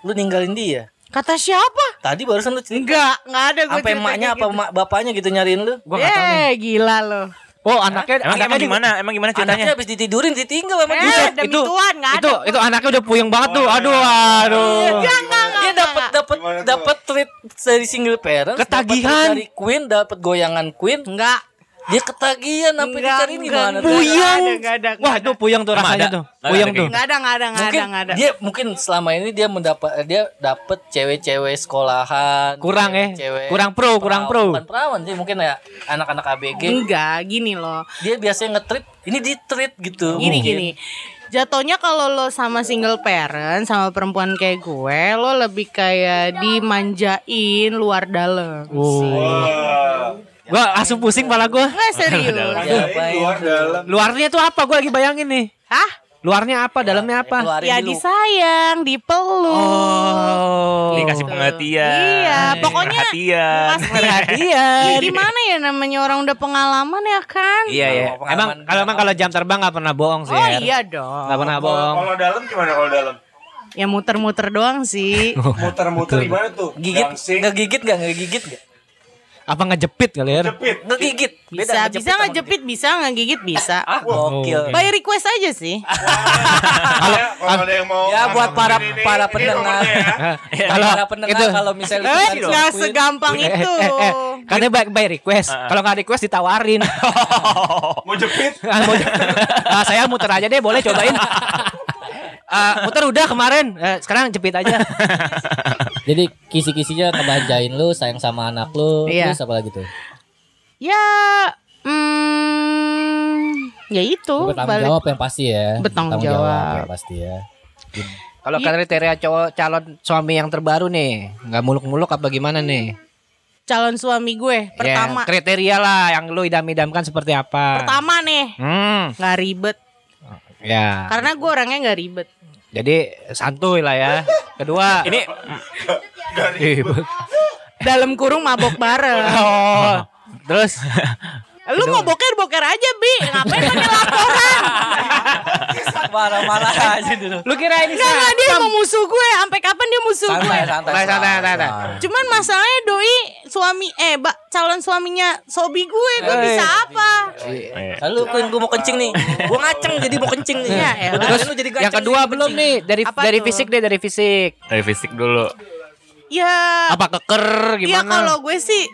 B: lu ninggalin dia.
C: Kata siapa?
B: Tadi barusan lu cerita.
C: Enggak, enggak ada gue
B: Sampai emaknya apa emak bapaknya gitu nyariin lu.
A: Gua nggak tahu nih.
C: Eh, gila lo.
A: Oh, anaknya
D: Emang,
A: anaknya
D: emang
A: di-
D: gimana? Emang gimana
B: Anaknya
D: ceritanya?
B: habis ditidurin ditinggal sama dia.
C: Eh, demi
A: itu
C: Tuhan nggak ada.
A: itu itu anaknya udah puyeng banget tuh. Aduh, aduh.
C: Enggak, enggak, enggak,
B: Dia
C: enggak,
B: dapat
C: enggak.
B: dapat
E: Gimana tuh?
B: dapat treat dari single parents, dapet treat
A: Ketagihan.
B: dari Queen, dapat goyangan Queen.
C: Enggak.
B: Dia ketagihan sampai
C: Enggak,
B: dicariin
C: enggak,
B: gimana? tuh?
C: enggak.
A: Puyeng.
C: Iya, gitu. Nggak ada, nggak
A: Wah,
C: ada.
A: tuh puyeng tuh
D: Emang
A: rasanya
D: ada?
A: tuh.
D: Ada
A: Puyeng
D: kayak
A: tuh.
C: Enggak ada, enggak ada, enggak ada,
B: mungkin
C: enggak ada.
B: dia mungkin selama ini dia mendapat dia dapet cewek-cewek sekolahan
A: Kurang
C: eh.
A: ya?
B: cewek-cewek
A: Kurang pro, kurang pro.
B: bukan perawan sih mungkin ya anak-anak ABG
C: Enggak, gini loh.
B: dia biasanya ngetrip ini di treat gitu
C: Gini
B: mungkin.
C: gini. Jatuhnya kalau lo sama single parent sama perempuan kayak gue, lo lebih kayak dimanjain luar dalam.
B: Oh.
E: wah.
A: Gua langsung pusing pala gua.
C: Enggak serius.
E: Ada
B: Siapa
E: yang keluar dalam.
A: Luarnya tuh apa? Gua lagi bayangin nih.
C: Hah?
A: Iya, Luarnya apa, dalamnya apa?
B: Keluarin
C: Ya
B: dulu.
C: disayang, dipeluk.
A: Oh.
D: Dikasih pengertian.
C: Iya, pokoknya
B: iya.
D: perhatian.
C: pasti ya, gimana ya namanya orang udah pengalaman ya kan?
A: Iya ya.
B: Pengalaman-
A: Emang kalau emang kalau jam terbang nggak pernah bohong sih.
C: Oh
A: Her.
C: iya dong.
A: Nggak pernah bohong.
E: Kalau dalam gimana kalau dalam?
C: Ya muter-muter doang sih.
B: Oh.
E: Muter-muter gimana tuh?
B: gigit
E: Gangsing.
B: ngegigit nggak ngegigit nggak
A: Apa ngejepit kali ya?
E: Jepit.
B: ngegigit
C: Bisa,
B: ngejepit
C: bisa
B: sama
C: ngejepit, bisa ngegigit, bisa.
B: ah gokil
C: By request aja sih.
E: Kalau kalau ada yang mau
B: ya buat
E: ngomong
B: para
E: ini, ini,
B: para
E: ini
B: pendengar
E: nomornya ya.
B: kalau para pendengar kalau misalnya
C: Eh,
B: kita
C: nggak
B: lakuin,
C: segampang
A: Eh,
C: itu.
A: Karena baik baik request. Kalau nggak request ditawarin.
E: Mau jepit?
A: Ah, mau- Ah, saya muter aja deh, boleh cobain. Ah, muter udah kemarin, Eh, sekarang jepit aja.
G: Jadi kisi-kisinya kebanjain lu, sayang sama anak lu,
C: Iya.
G: terus apa lagi tuh?
C: Ya, hmm, ya itu.
G: Lu bertanggung
C: Balik.
G: jawab yang pasti ya.
C: Bertanggung jawab.
G: yang pasti ya.
A: Kalau kriteria cowok calon suami yang terbaru nih, nggak muluk-muluk apa gimana nih?
C: Calon suami gue
A: Ya,
C: pertama,
A: kriteria lah yang lu idam-idamkan seperti apa?
C: pertama nih,
A: Hmm,
C: nggak ribet.
A: ya.
C: Karena gue orangnya nggak ribet.
A: Jadi santuy lah ya. Kedua,
D: Ini
A: Ih, bu-
C: Dalam kurung mabok bareng.
A: oh, terus
C: Lu mau boker boker aja bi, ngapain pakai laporan?
B: marah-marah aja dulu
A: lu kira ini
C: Nggak nggak dia mau musuh gue, sampai kapan dia musuh gue?
B: santai santai
A: Santai, santai, santai, santai.
C: Cuman masalahnya doi suami eh bak calon suaminya sobi gue, gue bisa apa?
D: Eh,
B: Lalu Nah, Queen gue mau kencing nih Gue ngaceng jadi mau kencing nih
C: Ya, elah.
B: Terus lu jadi
A: yang kedua belum nih dari
C: Apa
A: dari
C: tuh?
A: fisik deh dari fisik.
D: dari fisik dulu.
C: Ya.
A: Apa keker
C: Iya
A: gimana?
C: kalau gue sih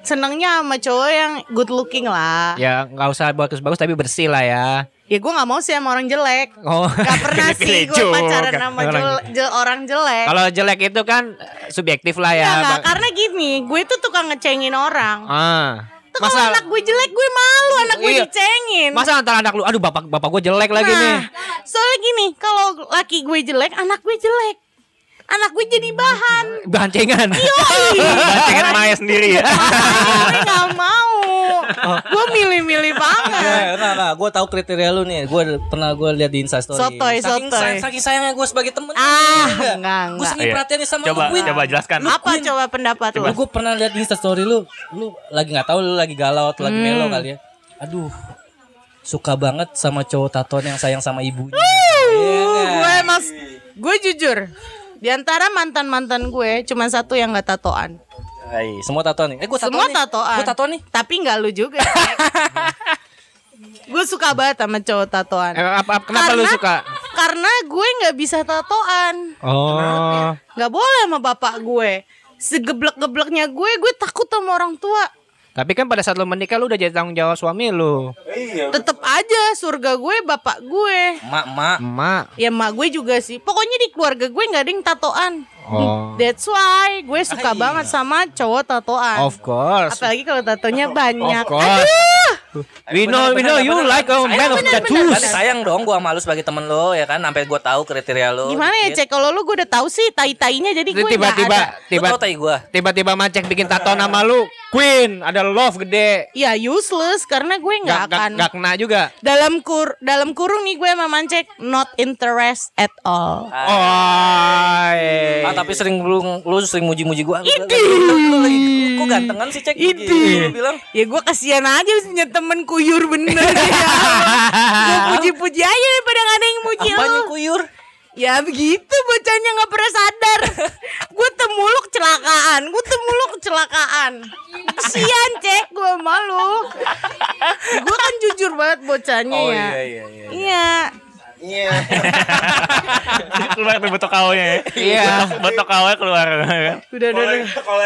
C: senengnya sama cowok yang good looking lah.
A: Ya nggak usah bagus-bagus tapi bersih lah ya.
C: ya gue nggak mau sih sama orang jelek
A: Oh.
C: Gak pernah sih gue
A: Pilih-pilih
C: pacaran
A: juga.
C: sama
A: Orang
C: jel- jel- orang jelek
A: gitu. Kalau jelek itu kan subjektif lah ya.
C: Iya, Nggak, kan? nggak,
A: Bang.
C: karena gini gue tuh tukang ngecengin orang
A: Ah.
C: Tuh kalau
A: Masa
C: anak gue jelek gue malu anak gue
A: Iya.
C: dicengin
A: masa antara anak lu aduh bapak bapak gue jelek lagi nih.
C: Nah, soalnya gini kalau laki gue jelek anak gue jelek anak gue jadi bahan
A: Bancingan.
C: Iya.
D: Bancingan Maya sendiri ya.
C: gue nggak mau
A: Oh.
C: gue milih-milih banget
A: Iya.
B: Nah, nah, nah, gue tahu kriteria lu nih. Gue pernah gue lihat di Instastory.
C: Sotoy,
B: saking,
C: sotoy.
B: sayang- saking sayangnya gue sebagai temen.
C: Ah, enggak,
B: Gue
C: enggak.
B: sering
D: Iya.
B: perhatiannya sama
D: Coba
B: lu. Queen.
D: coba jelaskan.
C: Apa coba pendapat
B: Lu
C: lu?
B: gue pernah lihat di Instastory lu, lu lagi nggak tahu lu lagi galau atau lagi melo kali ya. Aduh, suka banget sama cowok tatoan yang sayang sama ibunya. Iya nggak?
C: Gue mas, gue jujur. Di antara mantan-mantan gue cuma satu yang gak tatoan.
B: Hai, semua tatoan nih. Eh, gue tatoan
C: Semua
B: nih.
C: tatoan.
B: Gue tatoan nih.
C: Tapi gak lu juga. gue suka banget sama cowok tatoan.
A: Eh, apa- apa- kenapa lu suka?
C: Karena gue nggak bisa tatoan.
A: Oh.
C: Nggak boleh sama bapak gue. Segeblek-gebleknya gue, gue takut sama orang tua.
A: Tapi kan pada saat lu menikah lu udah jadi tanggung jawab suami lu.
E: Iya.
C: Tetep aja surga gue bapak gue.
B: Mak, mak.
A: Emak.
C: Ya mak gue juga sih. Pokoknya di keluarga gue nggak ada yang tatoan.
A: Oh.
C: That's why gue suka banget sama cowok tatoan.
A: Of course.
C: Apalagi kalau tatonya banyak.
A: Of course. We know, we know you like a man of tattoos.
B: Berarti sayang dong gue sama lu sebagai temen lu ya kan sampai gue tahu kriteria lu.
C: Gimana ya cek kalau lu gue udah tahu sih tai-tainya jadi gue nggak
A: Tiba-tiba,
C: ada.
A: tiba,
B: Lu tau tai gue.
A: tiba-tiba macek bikin tato nama lu. Queen, ada love gede.
C: Ya useless karena gue
A: Gak,
C: nggak
A: gak,
C: akan.
A: gak kena juga.
C: Dalam kur dalam kurung nih gue sama Mancek not interest at all.
A: Oh,
B: Ah, tapi sering lu, lu sering muji-muji gua. Idi. Lu lagi kok gantengan sih cek. Idi. Lu bilang
C: Ya gue kasihan aja punya temen kuyur bener ya. Gue puji-puji aja daripada gak ada yang muji
B: apa
C: lu.
B: nih kuyur?
C: Ya begitu bocahnya gak pernah sadar. gue temuluk kecelakaan. Gue temuluk kecelakaan. Kesian cek gue malu. gue kan jujur banget bocahnya
B: Oh,
C: ya.
B: iya, iya, iya,
E: Iya.
D: keluar tuh botok kawanya ya.
A: Iya.
D: Botok, botok kawanya keluar. kan?
C: Udah, udah, udah.
E: Kalau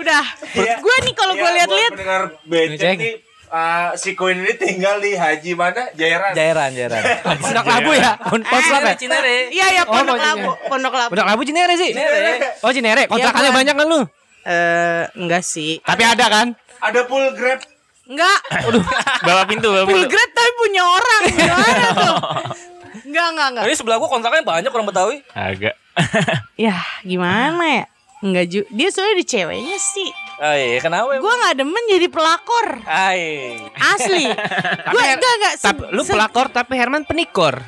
C: udah.
B: Iya.
C: Gue nih kalau gue
E: Ya,
C: lihat-lihat.
E: buat pendengar becek
A: Becek.
E: nih eh, si Queen ini tinggal di Haji mana? Jairan.
B: Jairan, jairan.
A: Pondok labu ya? Pondok
C: Eh.
A: lab ya?
B: Cinere.
C: Iya ya pondok
A: pokoknya.
C: labu, pondok labu.
A: Pondok labu Cinere sih? Oh Cinere, kontrakannya
C: Iya, Bang.
A: banyak kan lu?
C: Eh, enggak sih.
A: Tapi ada kan?
E: Ada full grab.
C: Enggak.
D: Bawa pintu, bawa
C: Full
D: pintu.
C: grade tapi punya orang. Gimana tuh? Enggak, enggak, enggak.
B: Ini sebelah gua kontrakannya banyak orang Betawi.
D: Agak.
C: Ya, gimana ya? Enggak juga. Dia soalnya di ceweknya sih.
B: Ay, Ah, iya, kenapa? emang?
C: Gue nggak demen jadi pelakor.
B: Ay.
C: Asli. Gue enggak enggak. se-
A: Tapi lu
C: se-
A: pelakor tapi Herman penikor.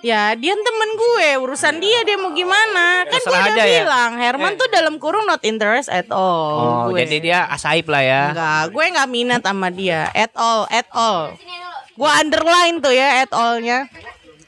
C: Ya, dia temen gue. Urusan dia dia mau gimana? Kan gue
A: Terserah
C: udah
A: aja ya?
C: bilang, Herman tuh dalam kurung not interest at
A: Oh,
C: all. gue.
A: jadi dia asaib lah ya.
C: Enggak, gue nggak minat sama dia at all, at all. Gue underline tuh ya at all-nya.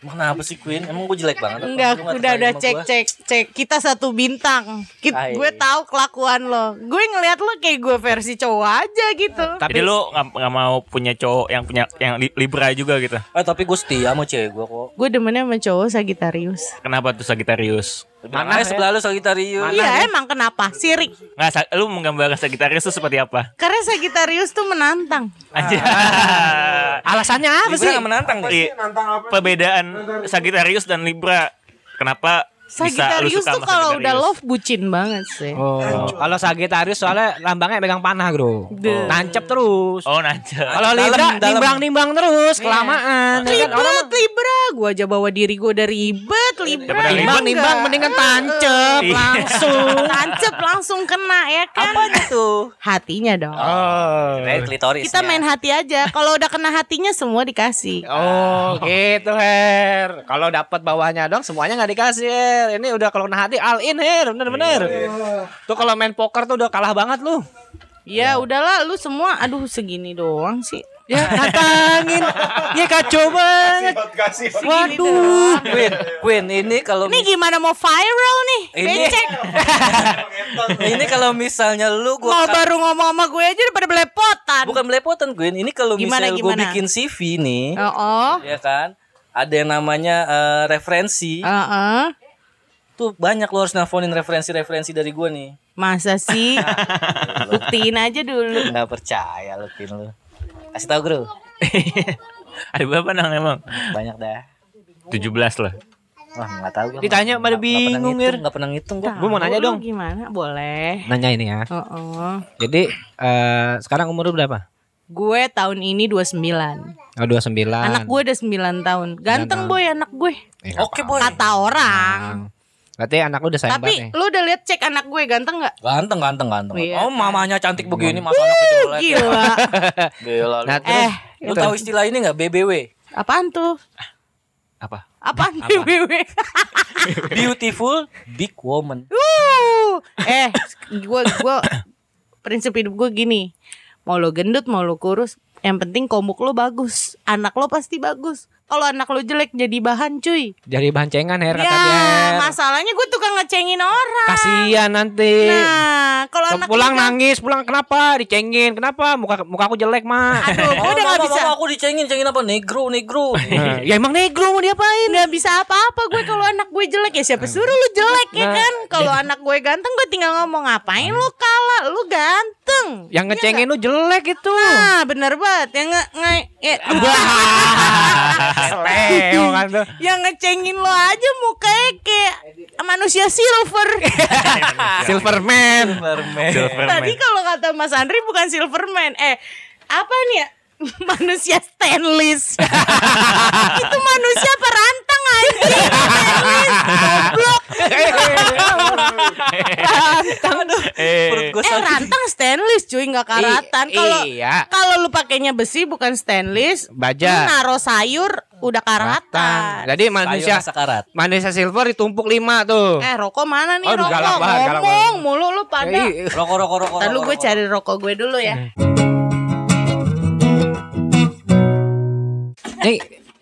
B: Mana apa sih Queen? Emang gua jelek banget. apa?
C: Enggak,
B: Lu nggak
C: udah
B: tertarik
C: udah
B: sama
C: cek
B: gua?
C: cek cek. Kita satu bintang. Ki-
B: Hai.
C: gue tahu kelakuan lo. Gue ngelihat lo kayak gue versi cowok aja gitu.
D: Jadi lu gak, mau punya cowok yang punya yang li- libra juga gitu.
B: Eh tapi gue setia sama cewek gue kok.
C: Gue demennya sama cowok Sagittarius.
D: Kenapa tuh Sagittarius?
B: Bilang aja sebelah lu Sagittarius.
C: Iya, emang kenapa? Sirik.
D: Nggak, Sa- lu menggambarkan Sagittarius tuh seperti apa?
C: Karena Sagittarius tuh menantang.
D: Aja.
C: Hmm. Ya,
A: Alasannya Ah. apa
B: Libra
A: sih?
B: nggak menantang nih.
D: Perbedaan Sagittarius dan Libra. Kenapa bisa lu
C: Sagittarius
D: suka
C: tuh
D: sama
C: kalau udah
D: Sagittarius?
C: love bucin banget sih.
A: Oh, kalau Sagittarius soalnya lambangnya megang panah, Bro. Nancep terus.
D: Oh, naja.
A: Kalau
B: Dalam,
A: Libra
B: dalam.
A: nimbang-nimbang terus,
C: Iya.
A: kelamaan. Ya kan? Orang
C: Ribet Libra, gue aja bawa diri gue dari ribet Libra.
D: Daripada
C: Emang
D: ribet.
A: nimbang-nimbang
C: nggak?
A: mendingan tancep
D: Iya.
A: langsung.
C: Tancep langsung kena ya kan? Apanya tuh? Hatinya dong.
D: Oh,
B: Nah, klitoris.
D: iya.
C: Kita main hati aja. Kalau udah kena hatinya semua dikasih.
A: Oh gitu Her Kalau dapat bawahnya dong semuanya nggak dikasih Her Ini udah kalau kena hati all in Her Bener-bener
C: Iya,
A: Tuh kalau main poker tuh udah kalah banget lu
C: Ya udahlah lu semua aduh segini doang sih.
A: Ya
D: Iya.
A: datangin
C: Iya,
A: Ya kacau banget
E: Kasih.
A: Waduh
B: Queen, Queen ini kalau
C: Ini gimana mau viral nih?
B: Ini-
C: Becek.
B: ini kalau misalnya lu gue
C: Mau baru ngomong sama gue aja daripada belepotan.
B: bukan belepotan Queen ini kalau
C: Gimana,
B: misalnya gue
C: gimana?
B: bikin CV nih
C: Oh, oh.
B: ya kan ada yang namanya eh, referensi
D: Iya.
C: Oh. Heeh.
B: tuh banyak lo harus nelfonin referensi-referensi dari gue nih
C: Masa sih? Buktiin aja dulu.
B: nggak percaya lo Queen lo kasih tahu bro
D: Ada berapa nang emang?
B: Banyak dah.
D: 17 lah.
B: Wah nggak tahu. gua.
A: Ditanya
B: Nggak-
A: pada
B: nggak pernah
A: bingung,
B: ngitung,
A: Ir.
B: Nggak pernah ngitung gua.
A: Gua mau nanya
C: Tahu lu
A: dong.
C: Gimana? Boleh.
A: Nanya ini ya.
C: Oh, oh.
A: Jadi eh, sekarang umur lu berapa?
C: Gue tahun ini 29.
A: Oh, 29.
C: Anak gue udah 9 tahun. Ganteng boy anak gue.
A: Eh, nggak apa-apa.
B: Oke, Boy.
C: Kata orang.
A: Berarti anak lu udah sayang
C: Tapi
A: banget nih.
C: lu udah lihat cek anak gue ganteng nggak?
B: Ganteng ganteng ganteng.
C: Iya,
B: Oh mamanya cantik begini masa anaknya jelek.
C: Gila.
B: Gila lu.
A: Nah,
C: eh,
A: terus
B: Lu tahu istilah ini nggak BBW?
C: apaan tuh?
D: Apa?
C: Apaan nih Wiwi?
B: Beautiful big woman.
C: Wuh. eh, gue gue prinsip hidup gue gini. Mau lo gendut, mau lo kurus, yang penting komuk lo bagus. Anak lo pasti bagus. Kalau anak lo jelek jadi bahan cuy.
A: dari bahan cengan Her kata dia.
C: Ya, masalahnya gue tukang ngecengin orang.
A: Kasihan nanti.
C: Nah, kalau anak
A: pulang
C: lo-
A: nangis, pulang kenapa? Dicengin. Kenapa? Muka muka aku jelek, Ma.
C: Aduh, gue Oh, udah
B: Mama,
C: gak bisa.
B: mama, aku dicengin, cengin apa? Negro, negro.
A: Nah, ya emang negro mau diapain?
C: Gak bisa apa-apa gue kalau anak gue jelek ya siapa suruh lu jelek
A: Nah,
C: ya kan? Kalau anak gue ganteng gue tinggal ngomong ngapain lu kalah lu ganteng.
A: Yang ngecengin lu jelek itu.
C: Nah bener banget yang nge, nge- ya-
A: Seleo kan tuh.
C: yang ngecengin lo aja mukanya kayak manusia silver.
A: Silverman. Eh.
C: Tadi kalau kata Mas Andri bukan Silverman. Eh, apa nih ya? Manusia stainless. Itu manusia perantang anjing. Stainless. Goblok.
B: Perut gue
C: Eh rantang stainless cuy nggak karatan.
A: I-
C: Kalau
A: iya.
C: kalau lu pakainya besi bukan stainless,
A: Baja.
C: lu naro sayur udah
A: Batang.
C: karatan.
A: Jadi manusia
B: masa karat.
A: manusia silver ditumpuk lima tuh.
C: Eh rokok mana nih
A: Aduh,
C: rokok?
A: galak banget, galak
C: Ngomong mulu lu pada.
A: Eh,
B: Rokok, rokok, rokok.
C: Ntar lu
B: rokok,
C: gue
B: rokok.
C: cari rokok gue dulu
A: Hmm.
C: ya.
A: Ini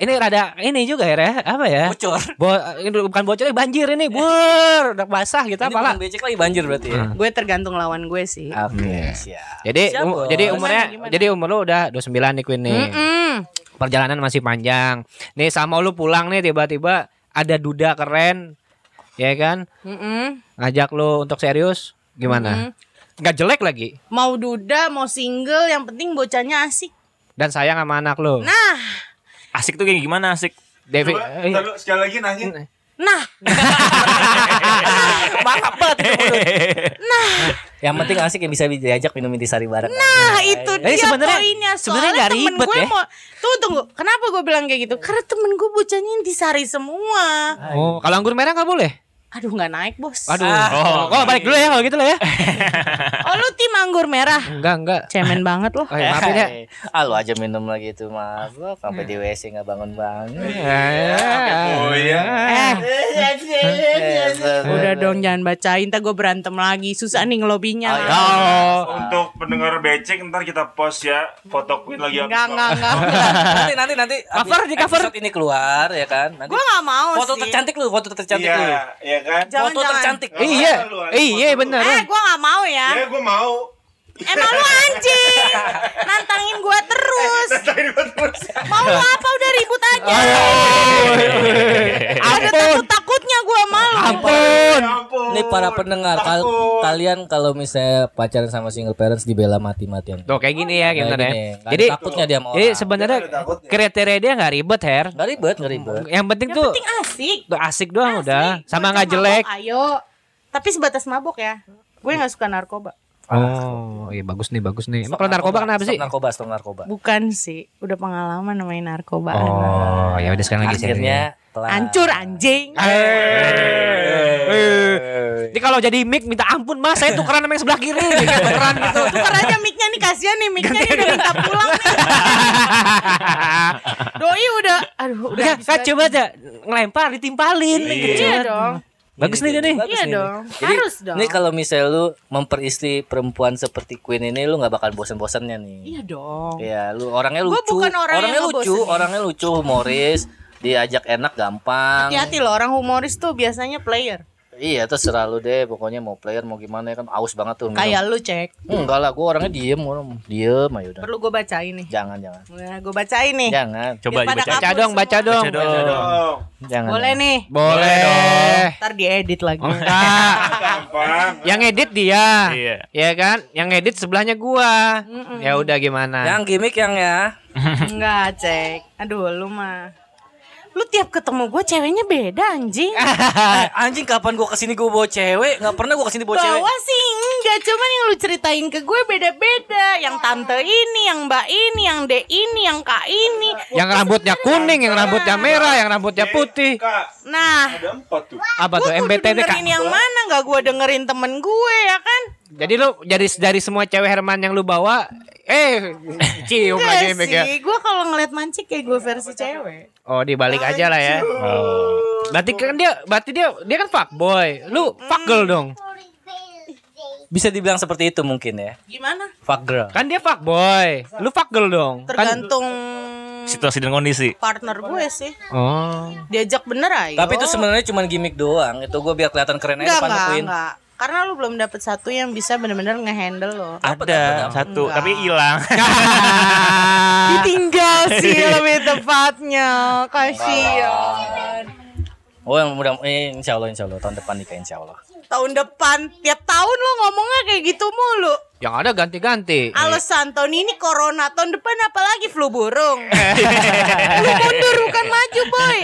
A: ini rada ini juga Her, ya, apa ya?
B: Bocor.
A: Bo ini bukan bocor, ini banjir ini. Bur, udah basah gitu
B: Ini
A: pala.
B: bukan becek lagi banjir berarti ya.
C: Gue tergantung lawan gue sih.
A: Ah,
B: Oke, siap.
A: Jadi
B: Siap,
A: um-
B: Bos.
A: jadi umurnya
C: Gimana, gimana?
A: jadi umur lu udah 29 nih Queen nih.
C: Mm.
A: Perjalanan masih panjang. Nih sama lu pulang nih tiba-tiba ada duda keren. Ya kan?
C: Mm-mm.
A: Ngajak lu untuk serius gimana? Nggak jelek lagi
C: Mau duda, mau single, yang penting bocahnya asik.
A: dan sayang sama anak lu.
C: Nah,
D: Asik tuh kayak gimana asik?
A: Devi,
E: Coba,
A: eh,
E: ntar lu sekali lagi nangis.
C: nah,
B: Mantap banget itu mulut. Yang penting asik ya bisa diajak minum intisari bareng.
C: nah itu
A: Jadi
C: dia
A: iya. sebenarnya-
C: poinnya.
A: sebenarnya
C: Soalnya
A: nggak
C: temen
A: ribet
C: gue
A: ya.
C: mau, tuh tunggu, kenapa gue bilang kayak gitu? Karena temen gue bocahnya intisari semua.
A: Oh, kalau anggur merah nggak boleh.
C: Aduh nggak naik bos.
A: Aduh. oh, oh, balik dulu ya kalau gitu lah ya.
C: Oh lu tim anggur merah.
A: enggak, enggak.
C: Cemen banget loh.
A: Oh, ya, maafin ya.
B: Eh, Ah lu aja minum lagi itu mabok sampai di WC nggak
A: Eh,
B: bangun bangun.
C: Iya,
E: Oh iya.
C: Eh, iya.
B: Iya,
A: eh.
C: udah dong jangan bacain, ntar gue berantem lagi. Susah nih ngelobinya.
A: Oh,
E: Untuk pendengar becek ntar kita post ya foto Queen lagi
C: Enggak, enggak, enggak.
B: nanti nanti nanti
A: Cover,
B: abis
A: di cover.
B: episode ini keluar ya kan. Nanti
C: Gue nggak mau
B: foto
C: sih.
B: tercantik lu, foto tercantik
E: Iya,
B: lu.
E: iya kan?
C: Jangan,
B: foto
C: jangan.
B: tercantik.
A: iya.
E: Lu, ada
A: Iya,
E: foto lu.
A: bener.
C: Eh, gue nggak mau ya.
E: Iya, gue mau.
C: Emang lu anjing Nantangin gua terus Mau lu apa udah ribut aja Eh.
D: Eh,
C: Ada takut-takutnya gua malu
A: Ampun.
E: Ya ampun.
B: Ini para pendengar, kal-
E: Takut.
B: kalian kalau misalnya pacaran sama single parents dibela mati-matian.
A: Tuh kayak gini ya, gimana ya?
B: Kayak gini, nggak ada
A: Jadi
B: takutnya dia sama
A: Jadi
B: orang.
A: sebenarnya
E: Dia ada takutnya.
A: kriteria dia nggak ribet, Her.
B: Gak ribet, gak ribet.
A: Yang penting
C: Yang
A: tuh
C: penting asik
A: tuh asik doang
C: asik.
A: udah, sama
C: Bocah
A: nggak
C: mabok,
A: jelek.
C: Ayo Tapi sebatas mabok ya Gue gak suka narkoba
A: Oh, iya bagus nih, bagus nih. Emang kalau narkoba kenapa
B: Stop
A: sih?
B: narkoba, stop narkoba.
C: Bukan sih Udah pengalaman main narkoba
A: Oh, ya udah sekarang lagi serius.
B: Akhirnya telah.
C: Hancur anjing
A: Eh. Jadi kalau jadi mic minta ampun mas, saya tukeran sama yang sebelah kiri, kayak beneran gitu.
C: Tuker aja mic-nya nih kasihan nih mic-nya nih udah minta pulang nih Doi udah Aduh udah
A: Udah,
C: habis
A: kan coba aja ngelempar ditimpalin.
C: Iya dong
A: Bagus nih dia nih.
B: Bagus
C: Iya
B: nih.
C: dong.
B: Jadi,
C: Harus dong.
B: Ini kalau misalnya lu memperistri perempuan seperti Queen ini lu nggak bakal bosan-bosannya nih.
C: Iya dong
B: Iya, lu orangnya
C: Gua
B: lucu.
C: bukan orang
B: orangnya
C: yang
B: lucu,
C: ngebosenin.
B: orangnya lucu, humoris, diajak enak gampang.
C: Hati-hati loh orang humoris tuh biasanya player.
B: Iya terserah lu deh pokoknya mau player mau gimana ya kan aus banget tuh minum.
C: Kayak lu cek.
B: Enggak lah gue orangnya diem orang diem ayo udah.
C: Perlu gue bacain nih.
B: Jangan jangan.
C: Nah, gue bacain nih.
B: Iya. Jangan.
D: Coba
C: Biar pada
D: dibaca.
A: Baca
C: Hapus
A: dong, baca dong.
D: Baca dong.
E: Dong,
B: Jangan. Oh.
C: Boleh nih.
A: Boleh dong.
C: Ntar diedit lagi.
A: Enggak.
E: gampang.
A: Yang edit dia.
D: Iya.
A: Ya kan? Yang edit sebelahnya gua. Ya udah gimana?
B: Yang gimmick yang ya.
C: Enggak, cek. Aduh, lu mah. Lu tiap ketemu gue ceweknya beda anjing.
B: Eh, anjing kapan gua kesini gua bawa cewek? Nggak pernah gua kesini bawa cewek.
C: Bawa sih enggak, cuman yang lu ceritain ke gue beda-beda. Yang tante ini, yang mbak ini, yang de ini, yang kak ini.
A: Yang rambutnya kuning, yang rambutnya merah, yang rambutnya putih.
E: Kak,
C: Nah,
E: ada empat tuh.
A: Apa tuh
C: gue kudu
A: MBTD
C: dengerin
A: Kak?
C: yang mana nggak gue dengerin temen gue ya kan?
A: Jadi lu jadi dari semua cewek Herman yang lu bawa eh cium lagi
C: Enggak
A: mikir.
C: Iya sih, gue kalau ngeliat mancik kayak gue versi cewek.
A: Oh, dibalik aja lah ya. Berarti kan dia berarti dia dia kan fuckboy.
C: Hmm.
A: Lu fuck girl dong.
B: Bisa dibilang seperti itu mungkin ya.
C: Gimana?
B: Fuck girl.
A: Kan dia fuckboy. Lu fuck girl dong. Kan
C: Tergantung
D: Situasi dan kondisi.
C: partner gue sih.
A: Oh.
C: Diajak bener ayo.
B: Tapi itu sebenarnya cuma gimmick doang. Itu gua biar kelihatan keren aja
C: Enggak,
B: depan
C: enggak,
B: Queen.
C: enggak. Karena lu belum dapet satu yang bisa bener-bener ngehandle lo.
D: Ada satu, tapi hilang.
B: Ah.
C: Ditinggal sih lebih tepatnya. Kasihan.
B: Oh, yang mudah eh, insya Allah, insya Allah tahun depan nikah insya Allah.
C: Tahun depan, tiap tahun lu ngomongnya kayak gitu mulu.
A: Yang ada ganti-ganti.
B: Iya.
C: Alasan tahun ini corona, tahun depan apalagi flu burung. lu mundur bukan maju, boy.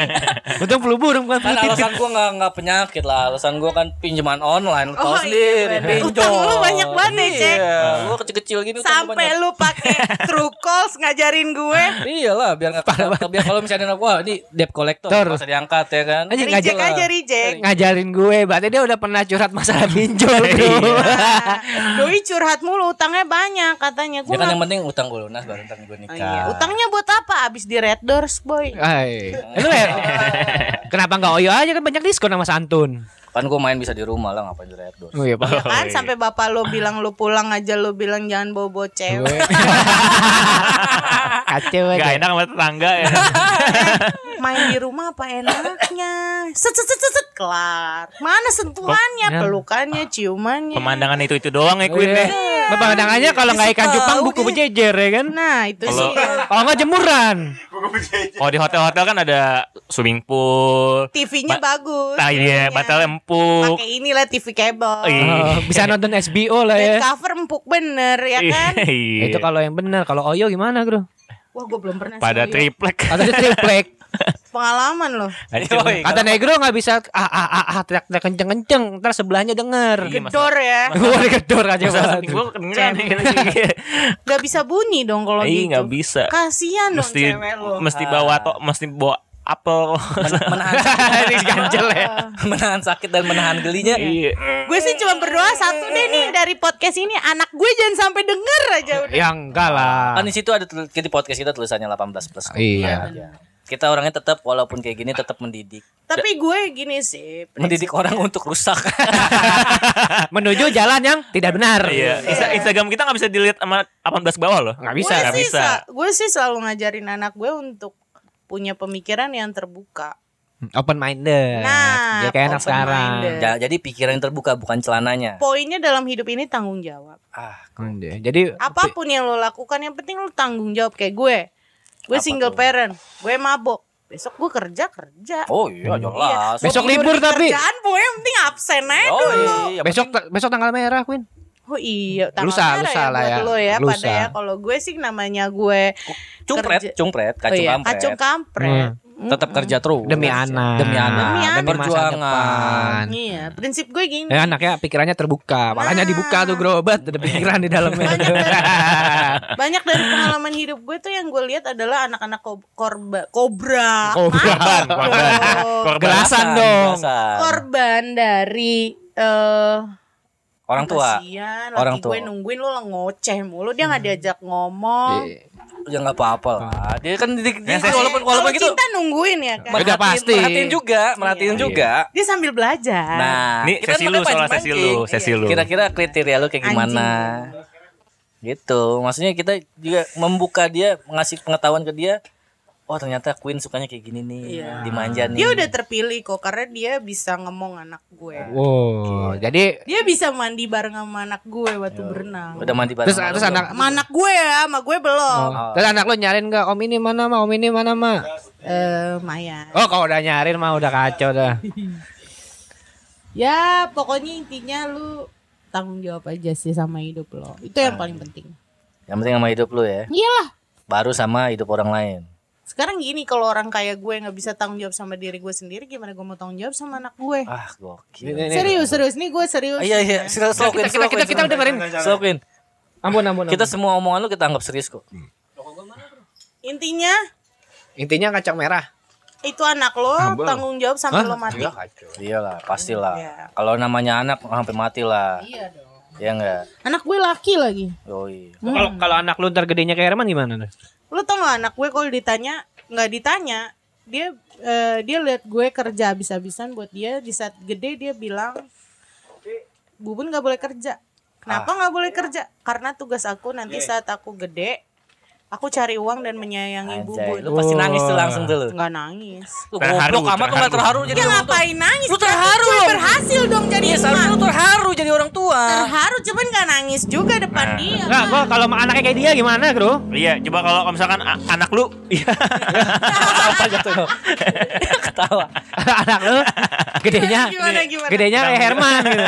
A: Untung flu burung bukan flu
B: Kan
A: tikus.
B: alasan gua nggak nggak penyakit lah. Alasan gua kan pinjaman online, lu tahu
C: Oh, iya
B: sendiri.
C: bener.
B: pinjol.
C: Utang lu banyak banget ya, Cek.
B: Iya, gua kecil-kecil gini utang gua
C: Sampai
B: banyak.
C: lu pakai true calls ngajarin gue.
B: Iyalah, biar nggak biar kalau misalnya wah ini debt collector
A: Ter.
B: nggak usah diangkat ya kan.
D: Iya,
A: Anjing
C: Reject
A: ngajak
C: aja, reject.
A: ngajarin gue berarti dia udah pernah curhat masalah pinjol bro
C: Iya. Doi curhat mulu, utangnya banyak katanya.
B: Ya
C: Gue
B: kan
C: nggak
B: yang penting utang gue lunas baru ntar gue nikah.
C: Oh, iya. Utangnya buat apa? Abis di Red Doors, boy.
D: Oh,
A: Hai. Eh, lu, eh, kenapa nggak oyo aja kan banyak diskon sama santun
B: Kan gue main bisa di rumah lah ngapain di red door.
A: oh iya
C: Ya kan sampai bapak lo bilang lo pulang aja lo bilang jangan bobo cewek.
A: kacau
D: Gak
A: aja
D: enak sama tetangga ya.
C: Main di rumah apa enaknya? Set set set set, set. kelar. Mana sentuhannya,
A: Kok-
C: pelukannya, ciumannya.
D: Pemandangan itu itu doang ya
C: Oh,
D: Queen
C: iya.
D: deh.
A: Iya. Pemandangannya kalau nggak ikan cupang buku berjejer ya kan
C: Nah, itu sih.
D: Kalau-
A: kalau nggak jemuran
E: Buku penjajah.
D: Kalau di hotel-hotel kan ada swimming pool.
C: TV-nya
D: Ba-
C: bagus.
D: Nah, iya,
C: Ininya.
D: batal empuk.
C: Pakai inilah TV kabel.
D: Iya.
A: Oh, bisa nonton SBO lah ya
C: Bed cover empuk bener ya kan?
D: Iya.
A: itu kalau yang benar kalau oyo gimana bro
C: Wah, gue belum pernah
D: pada
C: sih, Boy.
D: triplek.
A: atau dia triplek
C: pengalaman lo.
D: Oh, iya.
A: kata negro nggak bisa ah ah ah, ah teriak teriak kenceng kenceng ntar sebelahnya denger
D: Iya, masa-
C: Dor ya.
A: gue gedor aja
D: Masa
A: banget.
D: gue
A: kan
D: kedengeran gitu.
C: Gak bisa bunyi dong kalau
D: Iya,
C: gitu.
D: nggak bisa.
C: Kasihan dong
D: Mesti
C: cewek lo.
D: mesti bawa to, mesti bawa apel.
B: menahan sakit, ganjel ya. menahan sakit dan menahan gelinya.
D: Iya.
C: Gue sih cuma berdoa satu deh nih
D: Eh.
C: dari podcast ini anak gue jangan sampai denger aja udah.
A: Ya enggak lah.
B: Kan di situ ada tul- di podcast kita tulisannya 18 plus.
A: Iya.
B: Iya. Kita orangnya tetap walaupun kayak gini tetap mendidik.
C: Tapi gue gini sih.
B: Mendidik
C: Iya.
B: orang untuk rusak.
A: Menuju jalan yang tidak benar.
D: Iya. Insta- Instagram kita nggak bisa dilihat sama 18 ke bawah loh.
A: Nggak
C: Gue
A: bisa.
D: nggak
C: sih,
D: bisa.
C: sa- gue sih selalu ngajarin anak gue untuk punya pemikiran yang terbuka.
A: Open minded.
C: Nah,
A: ya kayak anak sekarang.
C: open-minded.
B: Ja- Jadi pikiran yang terbuka bukan celananya.
C: Poinnya dalam hidup ini tanggung jawab.
B: Ah,
A: Hmm, iya. Jadi
C: Apapun yang lo lakukan yang penting lo tanggung jawab kayak gue. Gue single parent, gue mabok. Besok gue kerja kerja.
B: oh iya jelas.
A: Besok
C: Tidur
A: libur
C: di
A: tapi.
C: Kerjaan gue yang penting absen aja
B: Oh
C: dulu.
B: iya.
A: besok besok tanggal merah, Queen.
C: Oh iya, tanggal
A: Lusa,
C: merah
A: lusa
C: ya
A: lah
C: buat
A: ya.
C: lo ya, pada
A: Lusa.
C: ya. Kalau gue sih namanya gue
B: Cumpret,
C: kerja-
B: cumpret, kacung
C: oh iya,
B: kampret.
C: kacung
A: Hmm,
C: kampret.
B: Tetap kerja terus.
A: Demi anak.
B: Demi anak.
C: Demi anak.
A: Demi masa
B: Perjuangan.
A: depan.
C: Iya, prinsip gue gini.
A: Ya anaknya pikirannya terbuka, malahnya
C: Nah.
A: dibuka tuh gerobak, ada pikiran di dalamnya.
C: Banyak dari, banyak dari pengalaman hidup gue tuh yang gue lihat adalah anak-anak kob- korba, kobra.
A: Kobra.
C: Mabok
D: Korban.
C: dong.
D: Korban.
A: Gelasan dong.
B: gelasan.
C: Korban dari eh
B: Orang tua.
C: kasihan,
B: Orang
C: laki
B: tua. Hmm.
C: gue nungguin lo lah ngoceh mulu dia nggak diajak ngomong
B: Ya nggak apa-apa lah. Dia kan di, di,
D: Ya, saya-
B: walaupun walaupun
C: Kalau
B: gitu
C: cinta nungguin ya kan
A: Udah pasti.
B: merhatiin juga, merhatiin juga.
C: dia sambil belajar
B: Nah,
D: Ini sesi
B: makanya
D: lu soal sesi lu,
B: pancing-pancing.
D: sesi lu.
B: Kira-kira kriteria lu kayak gimana? Gitu. Maksudnya kita juga membuka dia, ngasih pengetahuan ke dia oh ternyata Queen sukanya kayak gini nih,
C: Iya.
B: dimanja nih.
C: Dia udah terpilih kok karena dia bisa ngomong anak
B: Iya.
C: gue.
A: Wow, jadi
C: Dia bisa mandi bareng sama anak gue
B: Iya.
C: waktu berenang.
B: Udah mandi bareng.
A: terus terus anak
C: Sama anak gue ya, sama gue
B: Oh.
C: belum.
A: terus anak lo nyariin nggak om ini mana ma om ini mana ma
C: Eh, Maya.
A: oh kalau udah nyariin mah udah kacau dah
C: Ya, pokoknya intinya lu tanggung jawab aja sih sama hidup lo. Itu yang paling penting.
B: Yang penting sama hidup lu ya.
F: Iyalah.
B: Baru sama hidup orang lain.
C: Sekarang gini kalau orang kayak gue nggak bisa tanggung jawab sama diri gue sendiri, gimana gue mau tanggung jawab sama anak gue?
B: Ah,
A: Ini-
B: gokil.
A: ini-
C: Serius, serius nih gue serius.
B: Ah, iya iya, slow, slow Queen, slow Queen.
A: Iya, kita dengerin. Iya.
B: Slow Queen.
A: ampun ampun
B: Kita semua omongan lu kita anggap serius kok.
C: Intinya
A: intinya kacang merah
C: itu anak lo
B: Ah,
C: tanggung jawab sampai lo mati.
B: Iyalah, pastilah.
C: Iya.
B: Kalau namanya anak hampir mati lah. Iya dong. Iya enggak?
F: Anak gue laki lagi.
B: Yoi.
A: kalau kalau anak lu ntar gedenya kayak Herman gimana tuh
C: Lo tau gak anak gue kalau ditanya nggak ditanya dia eh, dia lihat gue kerja habis-habisan buat dia di saat gede dia bilang bubun nggak boleh kerja.
B: Ah.
C: Kenapa nggak boleh kerja? Karena tugas aku nanti
B: Iya.
C: saat aku gede aku cari uang dan menyayangi
B: Anjay, lu
C: bubun.
B: pasti nangis tuh langsung tuh lu.
C: Nggak nangis.
B: Lu
D: Terharu,
B: goblok amat lu enggak terharu
D: terharu.
B: jadi
C: Ya
B: orang tua.
C: ngapain nangis?
B: Lu
C: Berarti
B: terharu
C: gue
B: dong.
C: berhasil dong jadi
B: Iya,
C: emak.
B: seharusnya lu terharu jadi orang tua.
C: Terharu cuman gak nangis juga depan dia.
A: nggak gua kalau sama anaknya kayak dia gimana bro
D: Iya, coba kalau kalau misalkan a- anak lu iya.
B: Apa jatuh? Ketawa.
A: anak lu gedenya
C: Gimana, gimana?
A: gedenya kayak Herman gitu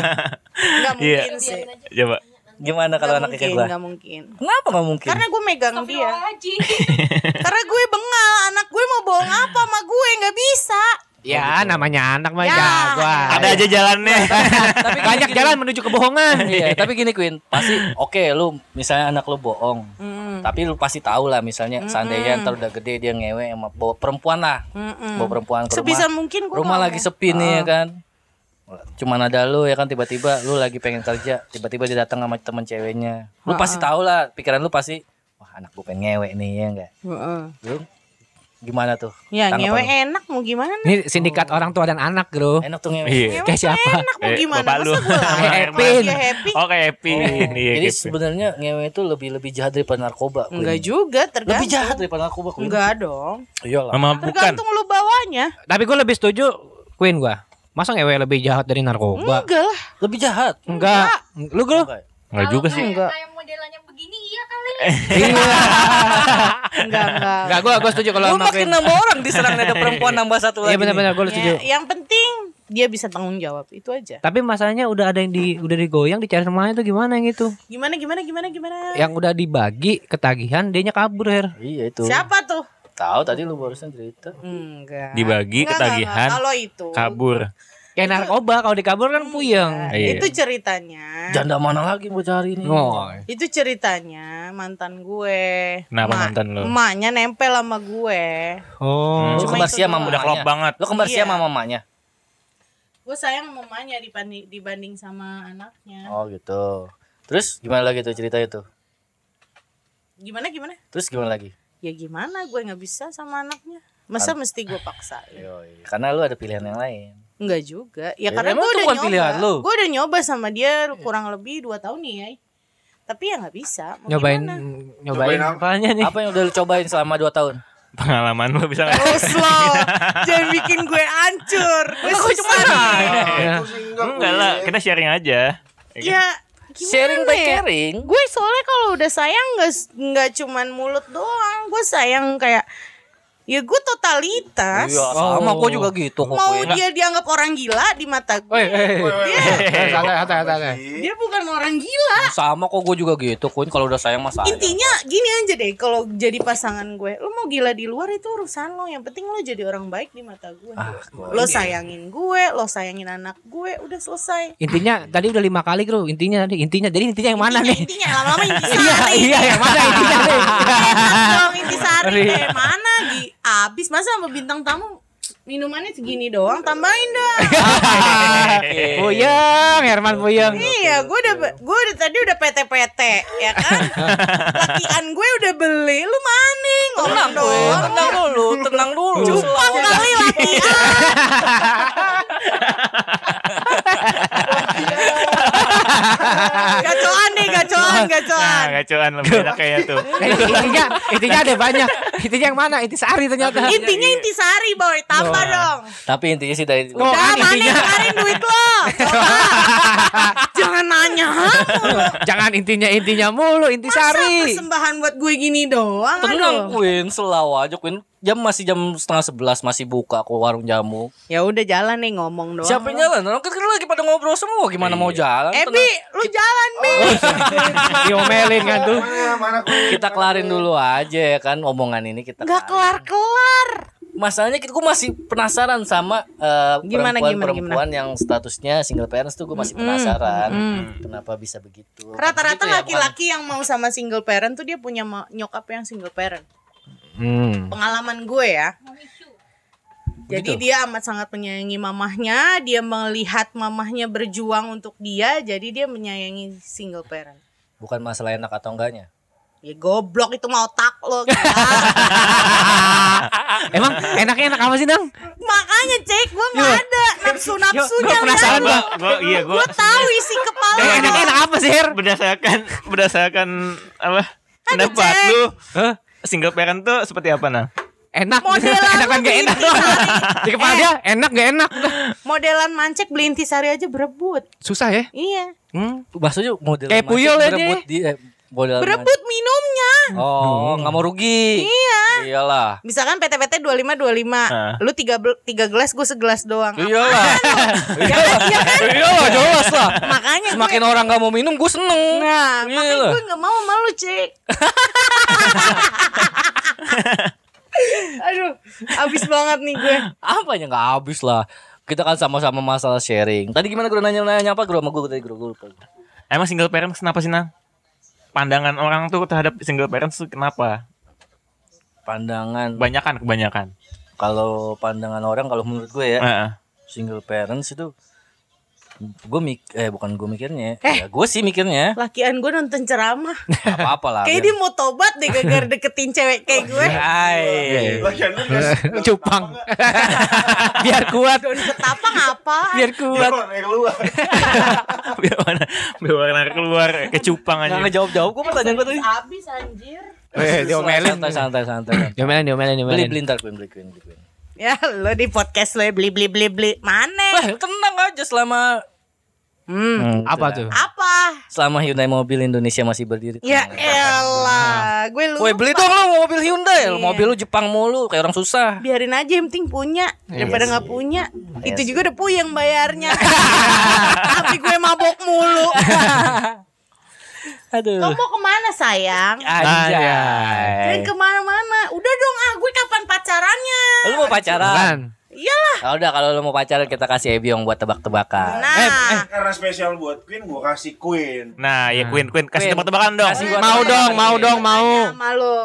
C: Gak
D: Iya.
C: mungkin sih.
D: coba.
B: Gimana kalau
C: Gak
B: anaknya kayak
C: mungkin,
B: gua?
C: gak mungkin.
B: Kenapa nggak mungkin?
C: Karena gue megang dia. Karena gue bengal, anak gue mau bohong apa sama gue nggak bisa.
A: ya namanya anak mah
C: Ya.
A: jagoan
D: Ada aja jalannya.
A: tapi banyak jalan menuju kebohongan
B: Iya, tapi gini Queen, pasti oke lu misalnya anak lu bohong. Tapi lu pasti tahu lah misalnya seandainya ntar udah gede dia ngewe sama bawa perempuan lah. Bawa perempuan ke
C: Sebisa
B: rumah.
C: mungkin Ah. gue
B: rumah
C: nggak
B: lagi
C: mau.
B: sepi nih ya kan. Cuman ada lu ya kan tiba-tiba lu lagi pengen kerja, tiba-tiba dia datang sama temen ceweknya. Lu pasti
C: Ah.
B: tahu lah, pikiran lu pasti wah anak gue pengen ngewe nih ya enggak.
C: Heeh.
B: Lu gimana tuh?
C: Ya
B: Tanggapan
C: ngewe
B: lu?
C: enak mau gimana?
A: ini sindikat orang tua dan anak bro
B: Enak tuh ngewe.
D: Iya.
A: kayak siapa
C: Enak mau
D: Eh,
C: gimana?
D: bapak lu. Oh,
C: Masa gue lah?
A: Kayak
D: Herman.
A: Epin.
C: Dia ya happy?
D: Oke, Epi.
A: Oh.
D: Iya,
B: Jadi
D: gitu.
B: sebenarnya ngewe itu lebih lebih jahat daripada narkoba. Queen.
C: Enggak juga,
B: Lebih
C: tergantung.
B: jahat daripada narkoba. Queen.
C: Enggak dong.
B: Iyalah.
D: Mama bukan.
C: Tergantung lu bawanya.
A: tapi gue lebih setuju Queen gua masa ngewe lebih jahat dari narkoba
C: Enggak lah.
B: Lebih jahat.
A: enggak lu bro
B: Enggak.
D: Enggak juga sih.
C: Enggak.
H: kayak modelannya begini iya kali
C: Enggak, enggak.
A: enggak gua gua setuju kalau
B: Lu
A: sama
B: makin
A: Queen
B: nambah orang diserang
C: Kan
B: ada perempuan nambah satu lagi.
A: iya benar-benar gua setuju
C: Ya, yang penting dia bisa tanggung jawab itu aja.
A: tapi masalahnya udah ada yang di udah digoyang dicari rumahnya tuh gimana yang itu
C: Gimana gimana gimana gimana?
D: Iya.
A: yang udah dibagi ketagihan dianya kabur her
B: nih. Iya itu.
C: Siapa tuh?
B: Tahu tadi lu barusan cerita.
C: Enggak. Enggak,
D: Dibagi
C: enggak,
D: ketagihan,
C: enggak. Kalau itu.
D: kabur.
A: kayak narkoba kalau dikabur kan puyeng
D: Iya.
C: nah, Itu ceritanya.
B: Janda mana lagi mau cari ini?
A: oh
C: Itu ceritanya mantan gue.
D: Kenapa
C: Ma-
D: mantan lu?
C: Emaknya nempel sama gue.
A: oh
B: Lu kembar sia sama
D: Udah
B: mamanya.
D: klop banget.
B: Lu kembar sia
C: Iya.
B: sama mamanya.
C: Gue sayang sama emaknya dibanding, dibanding sama anaknya.
B: Oh gitu. Terus gimana lagi tuh cerita itu?
C: Gimana gimana?
B: Terus gimana lagi?
C: Ya gimana gue nggak bisa sama anaknya. Masa mesti gue paksain?
B: Yoi. Karena lu ada pilihan yang lain.
C: Enggak juga. Ya
B: Ya,
C: karena
B: emang
C: gue
B: itu
C: udah
B: bukan
C: nyoba.
B: pilihan lu. Iya.
C: Gue udah nyoba sama dia kurang lebih 2 tahun nih, ya. Tapi ya nggak bisa. Mau
A: nyobain
C: gimana?
A: nyobain,
E: Nyobain apa?
A: apanya nih
B: Apa yang udah lu cobain selama 2 tahun?
D: Pengalaman lu bisa nggak?
C: Terus lo, jangan bikin gue hancur. Gue susah nih.
D: Enggak lah, kita sharing aja.
C: Ya, gimana
B: Sharing by
C: ya?
B: caring.
C: Gue soalnya kalau udah sayang nggak nggak cuman mulut doang. Gue sayang kayak ya gue totalitas.
B: Iya, sama gua juga gitu kok.
C: Oh. Mau
B: Queen.
C: dia dianggap orang gila di mata gue.
A: Woi, eh, eh, eh, santai, santai, santai.
C: Dia bukan orang
B: Kan
C: gila.
B: Sama kok gue juga gitu, Queen. Kalau udah sayang masa.
C: Intinya gini aja deh kalau jadi pasangan gue, lo mau gila di luar itu urusan lo. Yang penting lo jadi orang baik di mata gue. lo sayangin gue, lo sayangin anak gue, udah selesai.
A: Intinya tadi udah lima kali bro. Intinya tadi intinya. Jadi intinya yang mana
C: intinya,
A: nih?
C: intinya lama-lama intisari.
A: Iya iya yang mana intinya nih?
C: Enak dong intisari eh mana Gi? Abis masa sama bintang tamu minumannya segini doang tambahin dong.
A: Iya. Puyeng, Herman Puyeng.
C: iya, gue udah gue udah tadi udah PT-PT ya kan. Lakian gue udah beli, lu mana ngomong
B: Tenang Queen,
C: doang.
B: tenang dulu, tenang dulu.
C: Cuma
B: Iya.
C: kali lakian. Gacoan deh, gacoan. gacoan, gacoan.
D: Nah, gacuan lebih enak kayak tuh.
A: Nah, intinya, intinya ada banyak. Intinya yang mana? Inti sari ternyata.
C: Intinya intisari boy, tambah dong.
B: Tapi intinya sih dari
A: Oh,
C: Udah
A: kan
C: mana yang
A: intinya.
C: kemarin duit lo? Coba. Jangan nanya.
A: Jangan intinya intinya mulu, inti
C: Masa
A: sari.
C: persembahan buat gue gini doang?
B: Tenang
C: aduh.
B: Queen, selaw aja Queen. Jam masih jam setengah sebelas masih buka kok warung jamu.
C: Ya udah jalan nih ngomong doang.
B: Siapa yang jalan? Orang kan kan lagi pada ngobrol semua gimana mau jalan?
C: Eh, Bi,
B: Tenang.
C: lu jalan, Bi.
A: Diomelin kan tuh.
E: Mana, mana kuenya?
B: Kita kelarin dulu aja ya kan omongan ini kita. kelarin.
C: Gak kelar-kelar.
B: Masalahnya kita gue masih penasaran sama eh,
C: Gimana, gimana,
B: perempuan-perempuan yang statusnya single parents tuh gue masih penasaran. Kenapa bisa begitu? Gitu
C: Rata-rata
B: ya,
C: laki-laki yang mau sama single parent tuh dia punya ma- nyokap yang single parent. Pengalaman gue ya. Jadi dia amat sangat menyayangi mamahnya, dia melihat mamahnya berjuang untuk dia, jadi dia menyayangi single parent.
B: Bukan masalah enak atau enggaknya.
C: Ya goblok itu mau otak lo gila.
A: Emang enaknya enak apa sih, Nang?
C: Makanya cek gue gak ada
A: Yo,
C: nafsu-nafsunya
A: gue penasaran
D: Gua,
A: Bang.
D: gua, iya gua
C: Gue tahu isi kepala
A: Eh,
C: lo.
A: enaknya enak apa sih, Her?
D: berdasarkan berdasarkan apa? Pendapat
C: Kan Jack.
D: lu
A: Hah?
D: single parent tuh seperti apa nah?
A: Enak.
C: Modelan
A: enak kan gak
C: lu gitu. beli
A: enak.
C: intisari.
A: Di kepala dia enak gak enak.
C: Modelan mancek beli intisari aja berebut.
A: Susah ya?
C: Iya.
A: Hmm.
B: Maksudnya model
A: Kayak
B: mancing
A: puyol ya dia.
B: berebut di eh, model
C: Berebut minumnya.
B: mancing. Oh, nggak mau rugi.
C: Iya.
B: Iyalah.
C: Misalkan PT-PT 25 25.
D: Ah.
C: Lu 3 tiga gelas gue segelas doang.
B: Iyalah.
C: Ya kan,
A: Iya
C: ya kan?
B: Iyalah jelas lah.
C: Makanya
B: Semakin
C: gue,
B: orang nggak mau minum, gue seneng. Iya,
C: Nah, makanya
B: Iyalah.
C: gue gak mau sama lu, Cik. Aduh, abis banget nih gue.
B: Apanya nggak habis lah. Kita kan sama-sama masalah sharing. Tadi gimana gue nanya-nanya apa Gro sama gue tadi Gro gue lupa.
D: Emang single parent kenapa sih nah? Pandangan orang tuh terhadap single parent tuh kenapa?
B: Pandangan
D: Kebanyakan kebanyakan.
B: kalau pandangan orang kalau menurut gue ya
D: Heeh.
B: single parents itu gue mik eh bukan gue mikirnya
A: Eh.
B: ya, gue sih mikirnya
C: Lakian gue nonton ceramah.
B: apa apa lah
C: Kayaknya dia mau tobat deh gagar deketin cewek kayak
B: Oh,
C: gue.
B: iya. Hai.
E: Lagian lu nggak sih?
A: Cupang. Biar kuat.
C: Ketapang apa?
A: Biar
E: Iya,
A: kuat.
E: Bang, yang keluar.
D: biar warna biar warna keluar kayak cupang aja.
B: nggak ngejawab jawab gue pertanyaan gue tadi
C: Abis anjir.
A: Eh, diomelin.
B: santai santai santai
A: Diomelin, diomelin,
B: beli
A: diomelin.
B: beli ntar Queen, beli Queen, beli Queen.
C: Ya lo di podcast lo ya beli beli beli beli. Mana?
B: Wah, tenang aja selama
C: Hmm.
A: Apa tuh?
C: Apa?
B: selama Hyundai Mobil Indonesia masih berdiri.
C: Ya elah, gue lupa.
B: Woi, beli dong lo mobil Hyundai. Mobil lu Jepang mulu, kayak orang susah.
C: Biarin aja yang penting punya daripada nggak punya. Itu juga udah puyeng bayarnya. Tapi gue mabok mulu.
B: Aduh.
C: Kamu mau kemana sayang?
B: Eh. Anjay.
C: Jangan kemana-mana. Udah dong ah, gue kapan pacarannya?
B: Lu mau
A: Kan.
B: pacaran?
C: Iyalah.
B: Ah, udah kalau lu mau pacaran kita kasih Ebiong buat tebak-tebakan.
C: Nah,
E: Karena spesial buat Queen, gua kasih Queen.
D: Nah, ya Queen Queen kasih
B: Queen.
D: tebak-tebakan dong.
B: Kasih gua-
A: Mau dong, mau dong, mau.
C: ya, sama lo.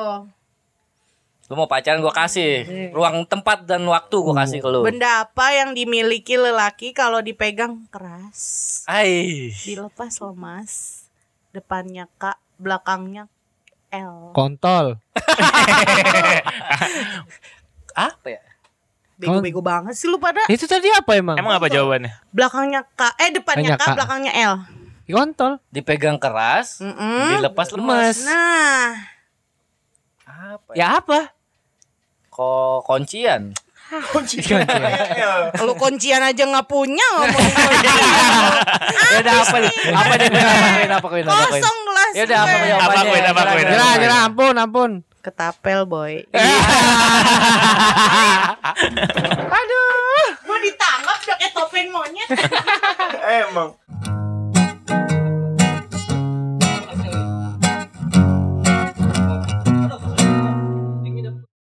B: Lu mau pacaran gua kasih ruang tempat dan waktu gua kasih ke lu.
C: Benda apa yang dimiliki lelaki kalau dipegang keras?
B: Ai.
C: Dilepas lemas. Depannya K, belakangnya L.
A: Kontol.
B: Apa ya?
C: Bego-bego banget sih lu pada.
A: Itu tadi apa emang?
D: Emang apa jawabannya?
C: Belakangnya K, eh depannya
A: Depannya K.
C: K, belakangnya L.
A: Kontol.
B: Dipegang keras,
C: Mm-mm.
B: dilepas Hmm. lemas.
C: Nah,
B: Apa?
A: Ya
B: Ya,
A: apa?
B: kok kuncian.
E: Kunci. Iya.
C: lu kuncian aja nggak punya ngomong
B: Ya udah apa nih? Apa nih? Queen? Apa Queen? Apa Queen? Apa Queen?
C: kosong gelas.
B: Ya udah apa
C: gue.
B: jawabannya?
D: Apa Queen? Apa Queen?
A: Jera, jera, ampun, ampun.
C: Ketapel boy.
E: Eh,